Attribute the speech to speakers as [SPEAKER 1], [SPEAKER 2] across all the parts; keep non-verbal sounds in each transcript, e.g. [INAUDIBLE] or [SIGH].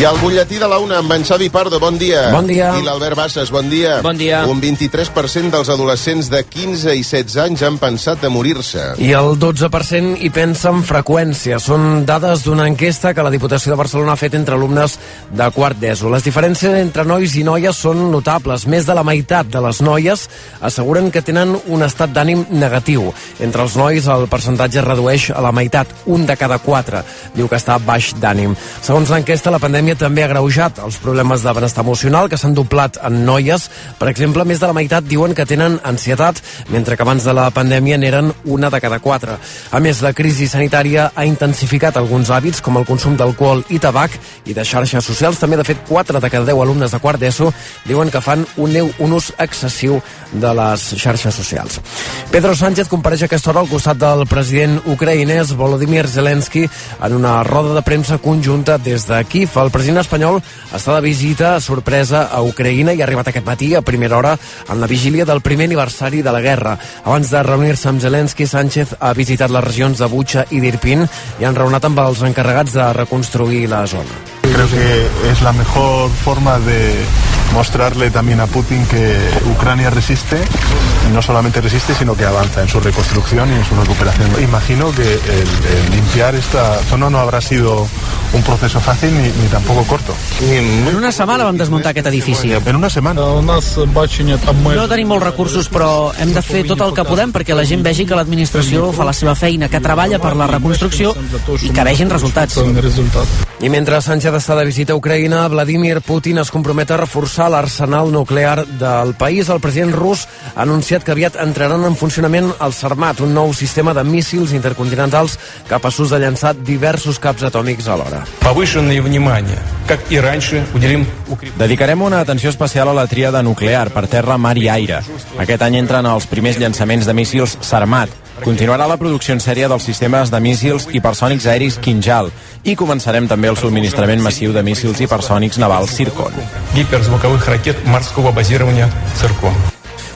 [SPEAKER 1] I el butlletí de la una amb en Xavi Pardo, bon dia.
[SPEAKER 2] Bon dia.
[SPEAKER 1] I l'Albert Bassas, bon dia.
[SPEAKER 3] Bon dia.
[SPEAKER 1] Un 23% dels adolescents de 15 i 16 anys han pensat de morir-se.
[SPEAKER 2] I el 12% hi pensa amb freqüència. Són dades d'una enquesta que la Diputació de Barcelona ha fet entre alumnes de quart d'ESO. Les diferències entre nois i noies són notables. Més de la meitat de les noies asseguren que tenen un estat d'ànim negatiu. Entre els nois el percentatge es redueix a la meitat, un de cada quatre diu que està baix d'ànim. Segons l'enquesta, la pandèmia també ha greujat els problemes de benestar emocional que s'han doblat en noies. Per exemple, més de la meitat diuen que tenen ansietat, mentre que abans de la pandèmia n'eren una de cada quatre. A més, la crisi sanitària ha intensificat alguns hàbits, com el consum d'alcohol i tabac, i de xarxes socials també, de fet, 4 de cada 10 alumnes de quart d'ESO diuen que fan un, neu, un ús excessiu de les xarxes socials. Pedro Sánchez compareix a aquesta hora al costat del president ucraïnès Volodymyr Zelensky en una roda de premsa conjunta des de Kiev. El president espanyol està de visita a sorpresa a Ucraïna i ha arribat aquest matí a primera hora en la vigília del primer aniversari de la guerra. Abans de reunir-se amb Zelensky, Sánchez ha visitat les regions de Butxa i d'Irpin i han reunat amb els encarregats de reconstruir la zona.
[SPEAKER 4] Creo que es la mejor forma de mostrarle también a Putin que Ucrania resiste, y no solamente resiste, sino que avanza en su reconstrucción y en su recuperación. Imagino que el- el limpiar esta zona no habrá sido un proceso fácil ni, ni tampoco corto.
[SPEAKER 3] En una setmana vam desmuntar aquest edifici.
[SPEAKER 4] En una semana.
[SPEAKER 5] У нас бачення
[SPEAKER 3] No tenim molts recursos, però hem de fer tot el que podem perquè la gent vegi que l'administració fa la seva feina, que treballa per la reconstrucció i que vegin resultats.
[SPEAKER 5] Результат.
[SPEAKER 2] I mentre Sánchez està de visita a Ucraïna, Vladimir Putin es compromet a reforçar l'arsenal nuclear del país. El president rus ha anunciat que aviat entraran en funcionament el Sarmat, un nou sistema de míssils intercontinentals capaços de llançar diversos caps atòmics alhora.
[SPEAKER 6] Повышенное внимание, как и раньше, уделим укреплению.
[SPEAKER 7] Dedicarem una atenció especial a la tríada nuclear per terra, mar i aire. Aquest any entren els primers llançaments de míssils Sarmat. Continuarà la producció en sèrie dels sistemes de míssils hipersònics aeris Kinjal i començarem també el subministrament massiu de míssils hipersònics navals Circon.
[SPEAKER 6] гиперзвуковых ракет морского базирования «Циркон».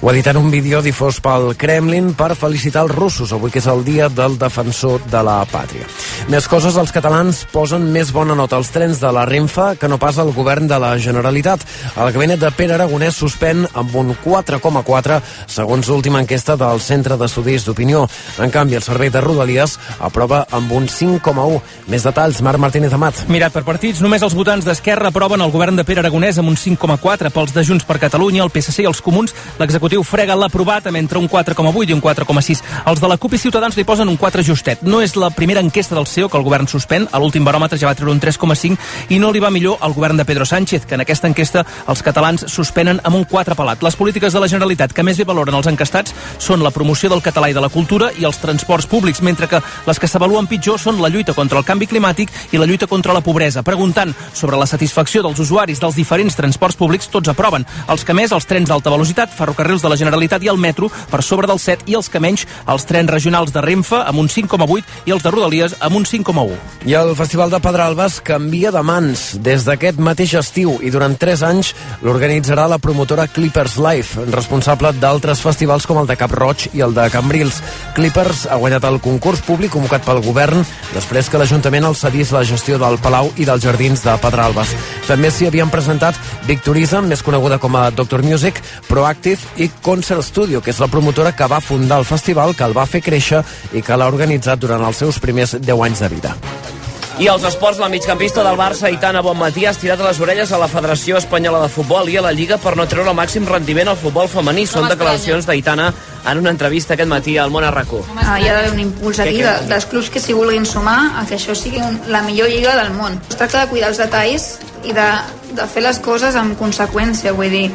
[SPEAKER 2] Ho ha dit en un vídeo difós pel Kremlin per felicitar els russos, avui que és el dia del defensor de la pàtria. Més coses, els catalans posen més bona nota als trens de la Renfa que no pas al govern de la Generalitat. El gabinet de Pere Aragonès suspèn amb un 4,4 segons l'última enquesta del Centre d'Estudis d'Opinió. En canvi, el servei de Rodalies aprova amb un 5,1. Més detalls, Marc Martínez Amat.
[SPEAKER 8] Mirat per partits, només els votants d'Esquerra aproven el govern de Pere Aragonès amb un 5,4. Pels de Junts per Catalunya, el PSC i els Comuns, l'executiu frega l'aprovat amb entre un 4,8 i un 4,6. Els de la CUP i Ciutadans li posen un 4 justet. No és la primera enquesta del CEO que el govern suspèn. A l'últim baròmetre ja va treure un 3,5 i no li va millor al govern de Pedro Sánchez, que en aquesta enquesta els catalans suspenen amb un 4 pelat. Les polítiques de la Generalitat que més bé valoren els encastats són la promoció del català i de la cultura i els transports públics, mentre que les que s'avaluen pitjor són la lluita contra el canvi climàtic i la lluita contra la pobresa. Preguntant sobre la satisfacció dels usuaris dels diferents transports públics, tots aproven. Els que més, els trens d'alta velocitat, ferrocarrils de la Generalitat i el metro, per sobre del 7, i els que menys, els trens regionals de Renfe, amb un 5,8, i els de Rodalies, amb un 5,1.
[SPEAKER 2] I el Festival de Pedralbes canvia de mans des d'aquest mateix estiu i durant 3 anys l'organitzarà la promotora Clippers Life, responsable d'altres festivals com el de Cap Roig i el de Cambrils. Clippers ha guanyat el concurs públic convocat pel govern després que l'Ajuntament el cedís la gestió del Palau i dels Jardins de Pedralbes. També s'hi havien presentat Victorism, més coneguda com a Doctor Music, Proactive i Concert Studio, que és la promotora que va fundar el festival, que el va fer créixer i que l'ha organitzat durant els seus primers 10 anys de vida.
[SPEAKER 9] I als esports, la migcampista del Barça, Itana Bonmatí, ha estirat les orelles a la Federació Espanyola de Futbol i a la Lliga per no treure el màxim rendiment al futbol femení. Són declaracions d'Aitana en una entrevista aquest matí al Món Arracó.
[SPEAKER 10] Ah, hi ha d'haver un impuls aquí de, dels clubs que s'hi vulguin sumar a que això sigui un, la millor lliga del món. Es tracta de cuidar els detalls i de, de fer les coses amb conseqüència, vull dir,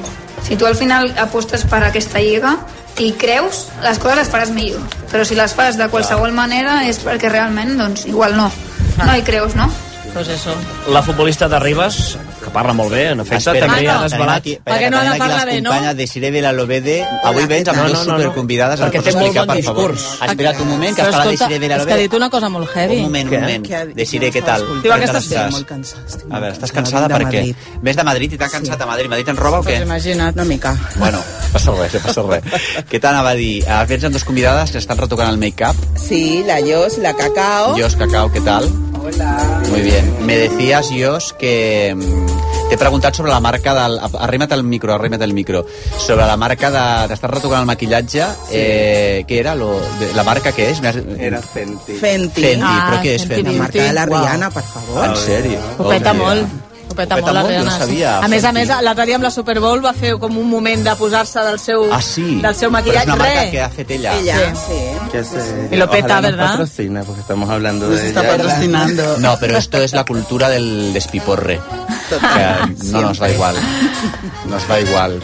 [SPEAKER 10] si tu al final apostes per aquesta lliga i creus, les coses les faràs millor. Però si les fas de qualsevol manera és perquè realment, doncs, igual no. No hi creus, no?
[SPEAKER 3] Pues eso.
[SPEAKER 9] La futbolista de Ribes, que parla molt bé, en efecte,
[SPEAKER 11] Espera,
[SPEAKER 9] també
[SPEAKER 11] ah,
[SPEAKER 9] ha
[SPEAKER 11] no.
[SPEAKER 9] desvelat...
[SPEAKER 11] Tenim Perquè
[SPEAKER 3] Perquè no ha de
[SPEAKER 11] tenim aquí
[SPEAKER 3] parlar
[SPEAKER 11] les
[SPEAKER 3] bé, no?
[SPEAKER 11] companyes de Sireve i la Lobede. Avui vens amb
[SPEAKER 9] No, no,
[SPEAKER 11] dues
[SPEAKER 9] no, no.
[SPEAKER 11] superconvidades.
[SPEAKER 9] Perquè
[SPEAKER 11] Em
[SPEAKER 9] té
[SPEAKER 11] pots
[SPEAKER 9] molt
[SPEAKER 11] explicar,
[SPEAKER 9] bon
[SPEAKER 11] per favor?
[SPEAKER 9] discurs.
[SPEAKER 11] Espera't un moment, que has parlat de
[SPEAKER 12] Escolta,
[SPEAKER 11] Sireve i la
[SPEAKER 12] és que ha dit
[SPEAKER 11] Lobede.
[SPEAKER 12] una cosa molt heavy.
[SPEAKER 11] Un moment, un moment. Desiree, què tal?
[SPEAKER 12] Diu,
[SPEAKER 11] Què
[SPEAKER 12] aquesta
[SPEAKER 11] tal estàs?
[SPEAKER 12] estic molt cansada, estic
[SPEAKER 11] A
[SPEAKER 12] molt
[SPEAKER 11] veure, estàs
[SPEAKER 12] cansada,
[SPEAKER 11] cansada per
[SPEAKER 12] vinc de
[SPEAKER 11] què? Vés de Madrid i t'ha cansat a Madrid. Madrid ens roba o
[SPEAKER 12] Pues
[SPEAKER 11] què?
[SPEAKER 12] imagina't una mica.
[SPEAKER 11] Bueno, no passa res, no passa res. Què t'anava a dir? Eh, Vens amb dues convidades que estan retocant el make-up.
[SPEAKER 12] Oh.
[SPEAKER 13] Sí, la Yos, la Cacao.
[SPEAKER 11] Dios, Cacao, què tal? Muy bien. Me decías, Jos, que mm, t'he preguntat sobre la marca del... Arrima't al micro, arrima't al micro. Sobre la marca de... T'estàs retocant el maquillatge. Sí. Eh, què era? Lo, de, la marca que és? Era Fenty.
[SPEAKER 12] Fenty.
[SPEAKER 11] Fenty,
[SPEAKER 13] Ah,
[SPEAKER 11] però què és
[SPEAKER 12] Fenty Beauty.
[SPEAKER 11] Fenty?
[SPEAKER 12] La marca de la Rihanna, per
[SPEAKER 11] Wow.
[SPEAKER 12] favor.
[SPEAKER 11] En sèrio?
[SPEAKER 12] Ho peta
[SPEAKER 11] Hòstia.
[SPEAKER 12] molt. Ho peta,
[SPEAKER 11] Ho peta
[SPEAKER 12] molt, la
[SPEAKER 11] molt, jo no
[SPEAKER 12] Rihanna.
[SPEAKER 11] sabia,
[SPEAKER 12] a més a
[SPEAKER 11] Fenty.
[SPEAKER 12] més, l'altre dia amb la Super Bowl va fer com un moment de posar-se del seu,
[SPEAKER 11] Ah, sí?
[SPEAKER 12] del seu maquillatge.
[SPEAKER 11] Però és una marca
[SPEAKER 12] Re.
[SPEAKER 11] que ha fet ella.
[SPEAKER 12] Ella, sí.
[SPEAKER 14] Que se,
[SPEAKER 12] Y lo peta,
[SPEAKER 14] ojalá nos
[SPEAKER 12] ¿verdad?
[SPEAKER 14] patrocina, porque estamos hablando de
[SPEAKER 12] está
[SPEAKER 14] ella.
[SPEAKER 12] patrocinando.
[SPEAKER 11] No, pero esto es la cultura del despiporre. O sea, no nos da igual. Nos da igual.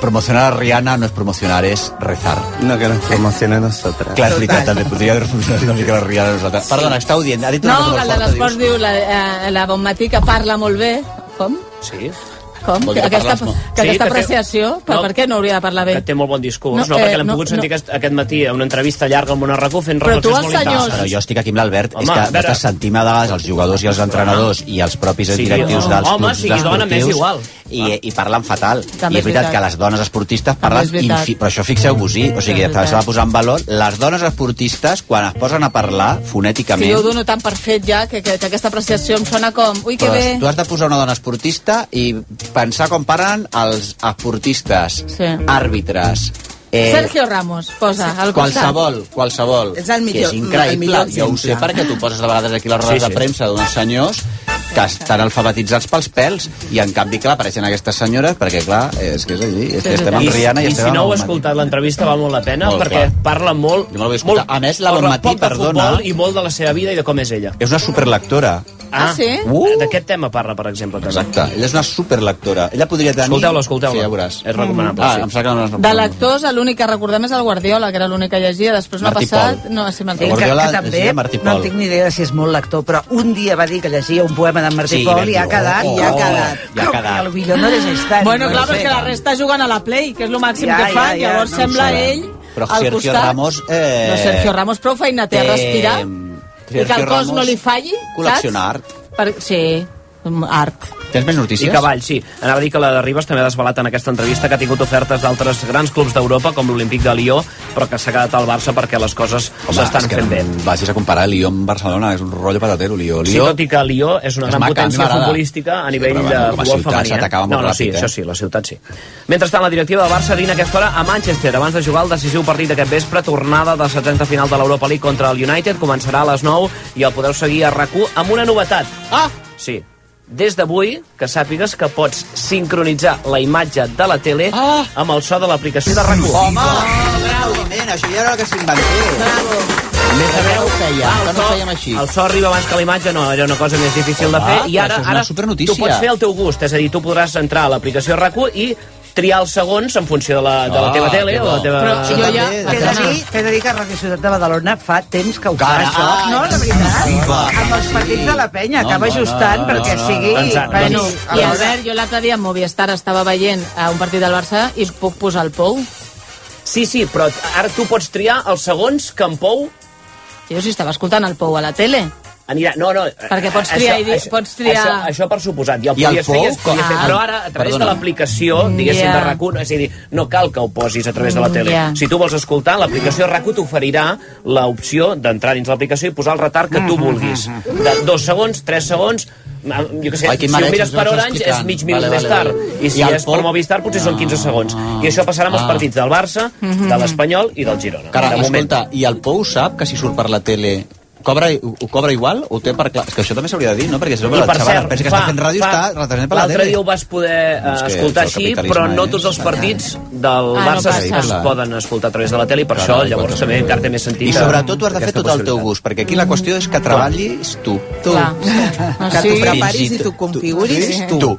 [SPEAKER 11] Promocionar a Rihanna no es promocionar, es rezar.
[SPEAKER 14] No, que nos promocione a nosotras.
[SPEAKER 11] Clar, és veritat, també podria haver funcionat una mica la Rihanna a nosaltres. Perdona, està audient, ha dit
[SPEAKER 12] No,
[SPEAKER 11] una
[SPEAKER 12] que
[SPEAKER 11] cosa
[SPEAKER 12] el de
[SPEAKER 11] molt forta,
[SPEAKER 12] l'esport diu la, eh, la Bonmatí que parla molt bé. Com?
[SPEAKER 11] dius. Sí?
[SPEAKER 12] Com?
[SPEAKER 9] Vol dir
[SPEAKER 12] Que
[SPEAKER 9] que
[SPEAKER 12] aquesta,
[SPEAKER 9] parles molt.
[SPEAKER 12] que
[SPEAKER 9] Sí,
[SPEAKER 12] aquesta
[SPEAKER 9] que té-
[SPEAKER 12] apreciació, però
[SPEAKER 9] no.
[SPEAKER 12] per què no hauria de parlar bé?
[SPEAKER 9] que té molt bon discurs,
[SPEAKER 12] No,
[SPEAKER 9] no, no
[SPEAKER 12] eh,
[SPEAKER 9] perquè l'hem
[SPEAKER 12] no,
[SPEAKER 9] pogut
[SPEAKER 12] no.
[SPEAKER 9] sentir aquest, aquest matí a una entrevista llarga al Monarracó fent
[SPEAKER 12] Però tu
[SPEAKER 9] reflexions
[SPEAKER 12] als
[SPEAKER 9] molt interessants.
[SPEAKER 11] Però jo estic aquí amb l'albert.
[SPEAKER 9] Home,
[SPEAKER 11] És que
[SPEAKER 9] a veure.
[SPEAKER 11] nosaltres sentim a vegades els jugadors i els entrenadors i els propis
[SPEAKER 9] Sí,
[SPEAKER 11] directius
[SPEAKER 9] home.
[SPEAKER 11] dels
[SPEAKER 9] Home,
[SPEAKER 11] clubs
[SPEAKER 9] siguis dona, m'és
[SPEAKER 11] esportius
[SPEAKER 9] igual. Ah.
[SPEAKER 11] I, i parlen fatal.
[SPEAKER 9] També és
[SPEAKER 11] I és veritat
[SPEAKER 9] veritat.
[SPEAKER 11] que les dones esportistes
[SPEAKER 9] També
[SPEAKER 11] parlen...
[SPEAKER 9] és veritat.
[SPEAKER 11] Infi... Però això fixeu-vos-hi.
[SPEAKER 12] També
[SPEAKER 11] O sigui,
[SPEAKER 12] és veritat.
[SPEAKER 11] s'ha de posar en valor. Les dones esportistes, quan es posen a parlar
[SPEAKER 12] Sí, jo ho
[SPEAKER 11] fonèticament...
[SPEAKER 12] dono tan per fet ja que, que, que aquesta apreciació em sona com... Ui, que
[SPEAKER 11] Però
[SPEAKER 12] bé.
[SPEAKER 11] tu has de posar una dona esportista i pensar com parlen els esportistes,
[SPEAKER 12] Sí.
[SPEAKER 11] àrbitres,
[SPEAKER 12] Sergio Ramos, posa, al costat.
[SPEAKER 11] eh, Qualsevol, qualsevol.
[SPEAKER 12] És el millor-
[SPEAKER 11] que és increïble.
[SPEAKER 12] el millor
[SPEAKER 11] jo ho
[SPEAKER 12] exemple.
[SPEAKER 11] sé perquè tu poses de vegades aquí les rodes
[SPEAKER 12] Sí,
[SPEAKER 11] sí,
[SPEAKER 12] sí.
[SPEAKER 11] de premsa d'uns senyors que estan alfabetitzats pels pèls i en canvi, clar, apareixen aquestes senyores perquè, clar, és que és així, és que estem amb Rihanna i,
[SPEAKER 9] I, i
[SPEAKER 11] estem
[SPEAKER 9] si no heu
[SPEAKER 11] amb Bonmatí.
[SPEAKER 9] escoltat l'entrevista val molt la pena
[SPEAKER 11] Molt,
[SPEAKER 9] perquè
[SPEAKER 11] clar.
[SPEAKER 9] parla molt,
[SPEAKER 11] Jo me la vaig
[SPEAKER 9] molt
[SPEAKER 11] escoltar. A més, la
[SPEAKER 9] poc-
[SPEAKER 11] Bonmatí,
[SPEAKER 9] poc de
[SPEAKER 11] perdona.
[SPEAKER 9] futbol i molt de la seva vida i de com és ella
[SPEAKER 11] És una superlectora.
[SPEAKER 12] Ah, sí?
[SPEAKER 11] Uh.
[SPEAKER 9] d'aquest tema parla per exemple també.
[SPEAKER 11] Exacte, ella és una superlectora. Ella podria tenir...
[SPEAKER 9] Escolteu-la, escolteu-la.
[SPEAKER 11] Sí, ja veuràs.
[SPEAKER 9] És recomanable,
[SPEAKER 11] Ah,
[SPEAKER 9] sí.
[SPEAKER 11] em sembla que no,
[SPEAKER 12] De lectors, l'únic que recordem és el Guardiola, que era l'únic que llegia, després no ha
[SPEAKER 11] Martí
[SPEAKER 12] passat...
[SPEAKER 11] Pol.
[SPEAKER 12] No, sí, Martí.
[SPEAKER 11] El Guardiola es deia Martí
[SPEAKER 15] no
[SPEAKER 11] Pol.
[SPEAKER 15] en tinc ni idea si és molt lector, però un dia va dir que llegia un poema d'en Martí
[SPEAKER 11] Sí, vam
[SPEAKER 15] Pol i
[SPEAKER 11] dir,
[SPEAKER 15] ha quedat,
[SPEAKER 11] oh,
[SPEAKER 15] i ha
[SPEAKER 11] oh,
[SPEAKER 15] quedat.
[SPEAKER 11] ja ha quedat.
[SPEAKER 15] I a lo millor no llegeix tant.
[SPEAKER 12] Bueno,
[SPEAKER 15] no
[SPEAKER 12] clar,
[SPEAKER 15] sé.
[SPEAKER 12] perquè la resta juguen a la Play, que és el màxim
[SPEAKER 15] Ja,
[SPEAKER 12] que fan,
[SPEAKER 15] ja, ja,
[SPEAKER 12] llavors
[SPEAKER 15] no ho
[SPEAKER 12] sembla
[SPEAKER 15] saben.
[SPEAKER 12] ell
[SPEAKER 11] Però
[SPEAKER 12] al
[SPEAKER 11] Sergio
[SPEAKER 12] costat.
[SPEAKER 11] Ramos, eh,
[SPEAKER 12] No, Sergio Ramos prou feina té a
[SPEAKER 11] té,
[SPEAKER 12] respirar i que el
[SPEAKER 11] Sergio
[SPEAKER 12] cos
[SPEAKER 11] Ramos
[SPEAKER 12] no li falli,
[SPEAKER 11] Col·lecciona art.
[SPEAKER 12] saps? Per... Sí, mm, art.
[SPEAKER 11] Tens més
[SPEAKER 9] I Cavall, sí. Anava a dir que la de Ribas també ha desvelat en aquesta entrevista que ha tingut ofertes d'altres grans clubs d'Europa, com l'Olímpic de Lió, però que s'ha quedat al Barça perquè les coses s'estan
[SPEAKER 11] és que
[SPEAKER 9] fent
[SPEAKER 11] no
[SPEAKER 9] bé.
[SPEAKER 11] Vagis a comparar Lió amb Barcelona, és un rotllo patatero, Lió.
[SPEAKER 9] Sí,
[SPEAKER 11] Lió...
[SPEAKER 9] tot i que Lió és una
[SPEAKER 11] És
[SPEAKER 9] gran
[SPEAKER 11] maca, a mi
[SPEAKER 9] potència
[SPEAKER 11] m'agrada.
[SPEAKER 9] futbolística a
[SPEAKER 11] Sí,
[SPEAKER 9] nivell
[SPEAKER 11] però
[SPEAKER 9] de
[SPEAKER 11] bueno, com a
[SPEAKER 9] futbol
[SPEAKER 11] ciutat
[SPEAKER 9] femení.
[SPEAKER 11] s'atacava molt
[SPEAKER 9] no, no, sí,
[SPEAKER 11] ràpid, eh?
[SPEAKER 9] això sí, la ciutat sí. Mentrestant, la directiva del Barça dina aquesta hora a Manchester. Abans de jugar el decisiu partit d'aquest vespre, tornada de 70 final de l'Europa League contra el United, començarà a les 9 i el podeu seguir a rac amb una novetat. Ah! Sí, des d'avui, que sàpigues que pots sincronitzar la imatge de la tele ah! amb el so de l'aplicació de rac
[SPEAKER 11] Home! Bravo! Nen, això ja era el que s'inventés. Bravo! Més de veu feia, que no fèiem així.
[SPEAKER 9] El so arriba abans que la imatge, no, era una cosa més difícil de
[SPEAKER 11] Home,
[SPEAKER 9] fer. I ara,
[SPEAKER 11] però això és una
[SPEAKER 9] ara
[SPEAKER 11] supernotícia.
[SPEAKER 9] tu pots fer el teu gust, és a dir, tu podràs entrar a l'aplicació rac i triar els segons en funció de la, de la
[SPEAKER 11] Ah,
[SPEAKER 9] teva tele
[SPEAKER 11] que
[SPEAKER 9] o la
[SPEAKER 11] bo.
[SPEAKER 9] teva...
[SPEAKER 15] Però
[SPEAKER 11] jo ja-
[SPEAKER 15] T'he de, dir, t'he de dir que Radio Ciutat de Badalona fa temps que ho fa,
[SPEAKER 11] Cara,
[SPEAKER 15] això.
[SPEAKER 11] ai,
[SPEAKER 15] No, la veritat.
[SPEAKER 11] exclusiva.
[SPEAKER 15] Amb els partits de la penya,
[SPEAKER 11] No,
[SPEAKER 15] acaba
[SPEAKER 11] no, no,
[SPEAKER 15] ajustant
[SPEAKER 11] no,
[SPEAKER 15] perquè
[SPEAKER 11] no, no,
[SPEAKER 15] sigui...
[SPEAKER 11] no, no, no.
[SPEAKER 12] Bueno, i
[SPEAKER 15] alhora-
[SPEAKER 12] Albert, jo l'altre dia a Movistar estava veient a un partit del Barça i puc posar el pou.
[SPEAKER 9] Sí, sí, però ara tu pots triar els segons que en Pou
[SPEAKER 12] Jo si estava escoltant el pou a la tele.
[SPEAKER 9] anirà... No, no...
[SPEAKER 12] Perquè pots triar i dir- pots triar-
[SPEAKER 9] Això, això per suposat. I el
[SPEAKER 11] I el
[SPEAKER 9] podies fer, i es
[SPEAKER 11] Pou?
[SPEAKER 9] podia fer.
[SPEAKER 11] Ah.
[SPEAKER 9] Però ara, a través
[SPEAKER 11] Perdona.
[SPEAKER 9] de l'aplicació, diguéssim,
[SPEAKER 12] ja.
[SPEAKER 9] de rac és a dir, no cal que ho posis a través de la
[SPEAKER 12] Mm,
[SPEAKER 9] tele.
[SPEAKER 12] ja.
[SPEAKER 9] Si tu vols escoltar, l'aplicació rac t'oferirà l'opció d'entrar dins l'aplicació i posar el retard que
[SPEAKER 11] Mm,
[SPEAKER 9] tu vulguis. De dos segons, tres segons... Jo què sé,
[SPEAKER 11] Ai, quin
[SPEAKER 9] si ho
[SPEAKER 11] mareig
[SPEAKER 9] mires
[SPEAKER 11] ens
[SPEAKER 9] per
[SPEAKER 11] vas
[SPEAKER 9] Orange és
[SPEAKER 11] explicant.
[SPEAKER 9] mig minut
[SPEAKER 11] Vale,
[SPEAKER 9] més
[SPEAKER 11] vale,
[SPEAKER 9] tard.
[SPEAKER 11] vale.
[SPEAKER 9] I si
[SPEAKER 11] I el
[SPEAKER 9] és per
[SPEAKER 11] Pou?
[SPEAKER 9] Movistar potser són 15 segons. I això passarà amb els
[SPEAKER 11] Ah.
[SPEAKER 9] partits del Barça,
[SPEAKER 12] Mhm.
[SPEAKER 9] de l'Espanyol i del Girona.
[SPEAKER 11] Cara,
[SPEAKER 9] de moment.
[SPEAKER 11] escolta, i el Pou sap que si surt per la tele cobra, ho cobra igual o té per clar? És que això també s'hauria de dir, no? Perquè si no,
[SPEAKER 9] I per
[SPEAKER 11] la xavala
[SPEAKER 9] cert,
[SPEAKER 11] pensa que
[SPEAKER 9] fa-
[SPEAKER 11] està fent ràdio,
[SPEAKER 9] fa-
[SPEAKER 11] està retransmetent per la
[SPEAKER 9] L'altre
[SPEAKER 11] tele.
[SPEAKER 9] dia ho vas poder eh,
[SPEAKER 11] És que
[SPEAKER 9] escoltar
[SPEAKER 11] el
[SPEAKER 9] així,
[SPEAKER 11] capitalisme eh? Ah,
[SPEAKER 9] però no
[SPEAKER 11] és-
[SPEAKER 9] tots els partits del
[SPEAKER 12] Ah, no
[SPEAKER 9] Barça es-
[SPEAKER 12] passa.
[SPEAKER 9] es poden escoltar a través de la tele i per
[SPEAKER 11] Clar,
[SPEAKER 9] això
[SPEAKER 11] clar,
[SPEAKER 9] llavors
[SPEAKER 11] clar.
[SPEAKER 9] també encara té més sentit.
[SPEAKER 11] I
[SPEAKER 9] eh,
[SPEAKER 11] sobretot ho has de fer
[SPEAKER 9] aquesta
[SPEAKER 11] tot al teu
[SPEAKER 9] possibilitat.
[SPEAKER 11] gust, perquè aquí la qüestió és que treballis tu. Tu.
[SPEAKER 12] Clar. Ah,
[SPEAKER 15] Que
[SPEAKER 12] sí,
[SPEAKER 15] t'ho preparis i
[SPEAKER 11] tu-
[SPEAKER 15] t'ho configuris.
[SPEAKER 11] Tu. tu.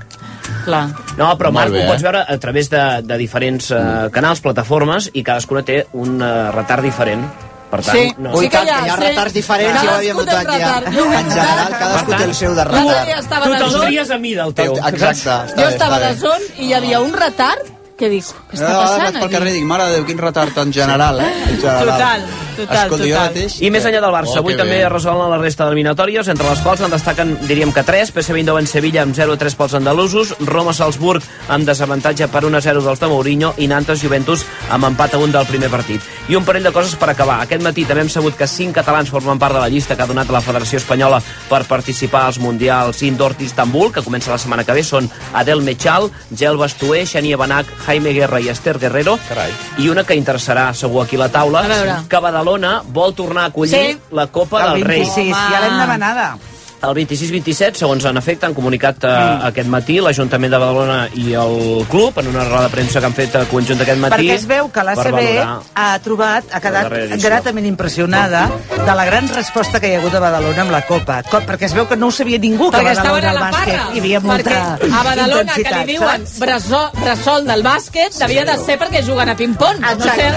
[SPEAKER 12] clar.
[SPEAKER 9] No, però
[SPEAKER 11] Molt
[SPEAKER 9] Marc,
[SPEAKER 11] bé,
[SPEAKER 9] ho pots
[SPEAKER 11] eh? Mm.
[SPEAKER 9] veure a través de, de diferents eh, canals, plataformes, i cadascuna té un eh, retard diferent. Per tant,
[SPEAKER 12] Sí.
[SPEAKER 9] no...
[SPEAKER 12] Ui,
[SPEAKER 9] Per
[SPEAKER 12] que hi ha, sí. Cadascú té un retard. Jo ho he
[SPEAKER 11] En general,
[SPEAKER 12] notat.
[SPEAKER 11] cadascú té el seu de
[SPEAKER 12] L'altre dia
[SPEAKER 11] retard.
[SPEAKER 12] estava
[SPEAKER 9] Tu
[SPEAKER 12] de
[SPEAKER 9] te'ls
[SPEAKER 12] zon,
[SPEAKER 9] tries a mida, el teu.
[SPEAKER 11] Exacte.
[SPEAKER 12] jo
[SPEAKER 11] bé,
[SPEAKER 12] estava
[SPEAKER 11] està
[SPEAKER 12] de
[SPEAKER 11] bé.
[SPEAKER 12] zon i hi havia un retard Què dic? Què està
[SPEAKER 11] Una vegada
[SPEAKER 12] passant
[SPEAKER 11] vaig pel
[SPEAKER 12] aquí?
[SPEAKER 11] carrer i dic, mare de Déu, quin retard tan general, eh? En general.
[SPEAKER 12] Total, total,
[SPEAKER 11] Escolta, jo
[SPEAKER 12] total.
[SPEAKER 11] mateix...
[SPEAKER 9] I més enllà del Barça,
[SPEAKER 11] Oh,
[SPEAKER 9] avui
[SPEAKER 11] que
[SPEAKER 9] també
[SPEAKER 11] bé.
[SPEAKER 9] es resolen la resta d'eliminatòries, entre les quals en destaquen, diríem que 3, PSV Eindhoven Sevilla amb 0-3 pels andalusos, Roma-Salzburg amb desavantatge per 1-0 dels de Mourinho i Nantes-Juventus amb empat a 1 del primer partit. I un parell de coses per acabar. Aquest matí també hem sabut que 5 catalans formen part de la llista que ha donat la Federació Espanyola per participar als Mundials Indoor d'Istanbul, que comença la setmana que ve. Són Adel Mechal, Gel Bastuer, Xenia Benac, Jaime Guerra i Esther Guerrero. Carai. I una que interessarà segur aquí a la taula,
[SPEAKER 15] A veure.
[SPEAKER 9] que Badalona vol tornar a acollir
[SPEAKER 15] Sí.
[SPEAKER 9] la Copa
[SPEAKER 15] El
[SPEAKER 9] del Rei.
[SPEAKER 15] 26, ja l'hem demanada.
[SPEAKER 9] El 26-27, segons en efecte, han comunicat eh, aquest matí l'Ajuntament de Badalona i el club en una roda de premsa que han fet eh, conjunt aquest matí.
[SPEAKER 15] Perquè es veu que
[SPEAKER 9] per
[SPEAKER 15] l'ACB
[SPEAKER 9] valorar-
[SPEAKER 15] E ha trobat, ha quedat
[SPEAKER 9] darrera edició.
[SPEAKER 15] gratament impressionada de la gran resposta que hi ha hagut a Badalona amb la Copa. Co- Perquè es veu que no ho sabia ningú que
[SPEAKER 12] Perquè estaven
[SPEAKER 15] Badalona
[SPEAKER 12] a
[SPEAKER 15] al
[SPEAKER 12] la parra.
[SPEAKER 15] bàsquet hi havia molta
[SPEAKER 12] Perquè a Badalona, que li
[SPEAKER 15] [LAUGHS] intensitat,
[SPEAKER 12] diuen
[SPEAKER 15] saps?
[SPEAKER 12] bressol, bressol del bàsquet, devia de ser perquè juguen a ping-pong. No sé,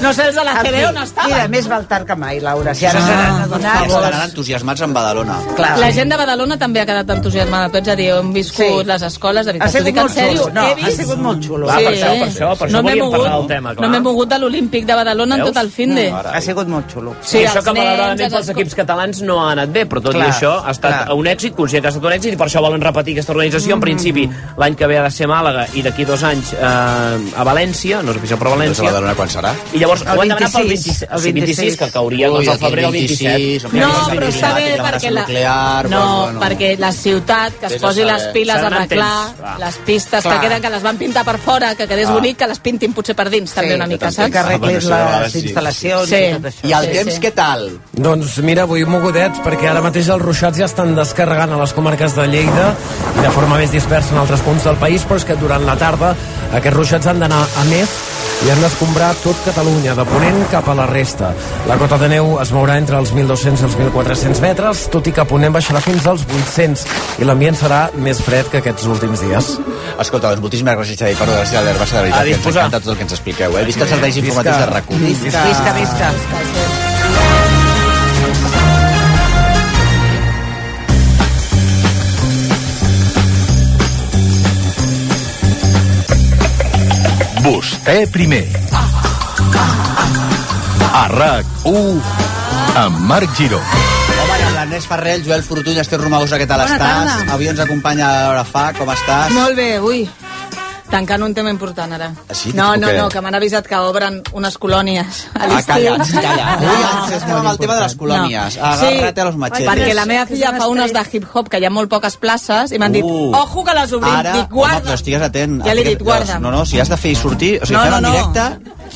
[SPEAKER 12] no sé els de la
[SPEAKER 15] En
[SPEAKER 12] CD
[SPEAKER 15] fi,
[SPEAKER 12] on Ah, estaven.
[SPEAKER 15] Mira, més val tard que mai, Laura. Si ara s'han adonat...
[SPEAKER 11] Estaran entusiasmats amb Badalona.
[SPEAKER 12] La gent de Badalona també ha quedat entusiasmada. Tots a dir, hem viscut les escoles, de veritat.
[SPEAKER 15] Ha sigut
[SPEAKER 12] t'ho dic en
[SPEAKER 15] molt xulo.
[SPEAKER 12] sèrio,
[SPEAKER 15] No,
[SPEAKER 12] he
[SPEAKER 15] ha
[SPEAKER 12] vist-
[SPEAKER 15] sigut molt xulo.
[SPEAKER 9] Va, per això, per això, per
[SPEAKER 12] No
[SPEAKER 9] això
[SPEAKER 12] m'he
[SPEAKER 9] volíem parlar
[SPEAKER 12] mogut.
[SPEAKER 9] del tema,
[SPEAKER 12] No
[SPEAKER 9] clar.
[SPEAKER 12] m'he mogut de l'Olímpic de Badalona en
[SPEAKER 9] Veus?
[SPEAKER 12] tot el finde.
[SPEAKER 15] Ha sigut molt xulo.
[SPEAKER 12] Sí,
[SPEAKER 9] Sí, això
[SPEAKER 12] els
[SPEAKER 9] que
[SPEAKER 12] nens,
[SPEAKER 9] malauradament
[SPEAKER 12] els
[SPEAKER 9] pels equips catalans no ha anat bé, però tot
[SPEAKER 15] Clar,
[SPEAKER 9] i això ha estat
[SPEAKER 15] clar.
[SPEAKER 9] un èxit, conscient que ha estat un èxit, i per això volen repetir aquesta organització. En principi, l'any que ve ha de ser a Màlaga i d'aquí dos anys eh, a València, no és oficial, però a
[SPEAKER 11] Doncs a
[SPEAKER 9] València.
[SPEAKER 11] Badalona quan serà?
[SPEAKER 9] I llavors ho
[SPEAKER 11] El
[SPEAKER 9] han demanat pel 26,
[SPEAKER 11] 26,
[SPEAKER 9] el 26, que cauria
[SPEAKER 11] Ui,
[SPEAKER 9] doncs, al
[SPEAKER 11] aquí
[SPEAKER 9] febrer el
[SPEAKER 11] 26,
[SPEAKER 9] 27.
[SPEAKER 12] No, però està bé perquè la...
[SPEAKER 11] nuclear,
[SPEAKER 12] no,
[SPEAKER 11] doncs, bueno.
[SPEAKER 12] perquè la ciutat que es
[SPEAKER 11] Vés a
[SPEAKER 12] posi
[SPEAKER 11] saber.
[SPEAKER 12] les piles a
[SPEAKER 11] Seran
[SPEAKER 12] arreglar,
[SPEAKER 11] entens, clar.
[SPEAKER 12] les pistes
[SPEAKER 11] Clar.
[SPEAKER 12] que queden, que les van pintar per fora, que quedés
[SPEAKER 11] Ah.
[SPEAKER 12] bonic, que les pintin potser per dins, també una mica, saps?
[SPEAKER 15] Que arreglin
[SPEAKER 11] Ah, bueno,
[SPEAKER 15] les
[SPEAKER 11] sí,
[SPEAKER 15] instal·lacions
[SPEAKER 12] sí.
[SPEAKER 15] i tot això.
[SPEAKER 11] I el temps, què tal?
[SPEAKER 2] Doncs mira, avui mogudets, perquè ara mateix els ruixats ja estan descarregant a les comarques de Lleida i de forma més dispersa en altres punts del país, però és que durant la tarda aquests ruixats han d'anar a més i han d'escombrar tot Catalunya, de ponent cap a la resta. La cota de neu es mourà entre els 1.200 i els 1.400 metres, tot i que a ponent baixarà fins als 800 i l'ambient serà més fred que aquests últims dies.
[SPEAKER 11] Escolta, doncs moltíssimes gràcies, Xavi, per donar-se a l'herba, de
[SPEAKER 2] A
[SPEAKER 11] veritat, que ens
[SPEAKER 2] disposar.
[SPEAKER 11] encanta tot el que ens expliqueu. Eh? Visca els serveis
[SPEAKER 2] Visca.
[SPEAKER 11] informatius de RAC1.
[SPEAKER 15] Visca, visca. visca.
[SPEAKER 16] Vostè primer. A RAC1 amb Marc Giró.
[SPEAKER 11] Home, i amb l'Ernest Ferrer, el Joel Fortuny, Esther Romagosa, què tal
[SPEAKER 12] Bona
[SPEAKER 11] estàs?
[SPEAKER 12] tarda.
[SPEAKER 11] Avui ens acompanya l'hora fa, com estàs?
[SPEAKER 12] Molt bé, ui. Tancant un tema important, ara.
[SPEAKER 11] Ah, sí?
[SPEAKER 12] No, no,
[SPEAKER 11] Què?
[SPEAKER 12] no, que m'han avisat que obren unes colònies a
[SPEAKER 11] Ah,
[SPEAKER 12] l'estiu.
[SPEAKER 11] calla, calla. Avui ens estem amb el tema de les colònies.
[SPEAKER 12] No.
[SPEAKER 11] Agarra't a los machetes.
[SPEAKER 12] Perquè la meva filla fa unes de hip-hop, que hi ha molt poques places, i m'han dit,
[SPEAKER 11] Uh.
[SPEAKER 12] ojo que les obrim.
[SPEAKER 11] Ara,
[SPEAKER 12] Dic, guarda.
[SPEAKER 11] home, però estigues atent.
[SPEAKER 12] Ja l'he dit,
[SPEAKER 11] Estigues-
[SPEAKER 12] guarda.
[SPEAKER 11] No, no, si has de fer i sortir, o sigui, fem en directe,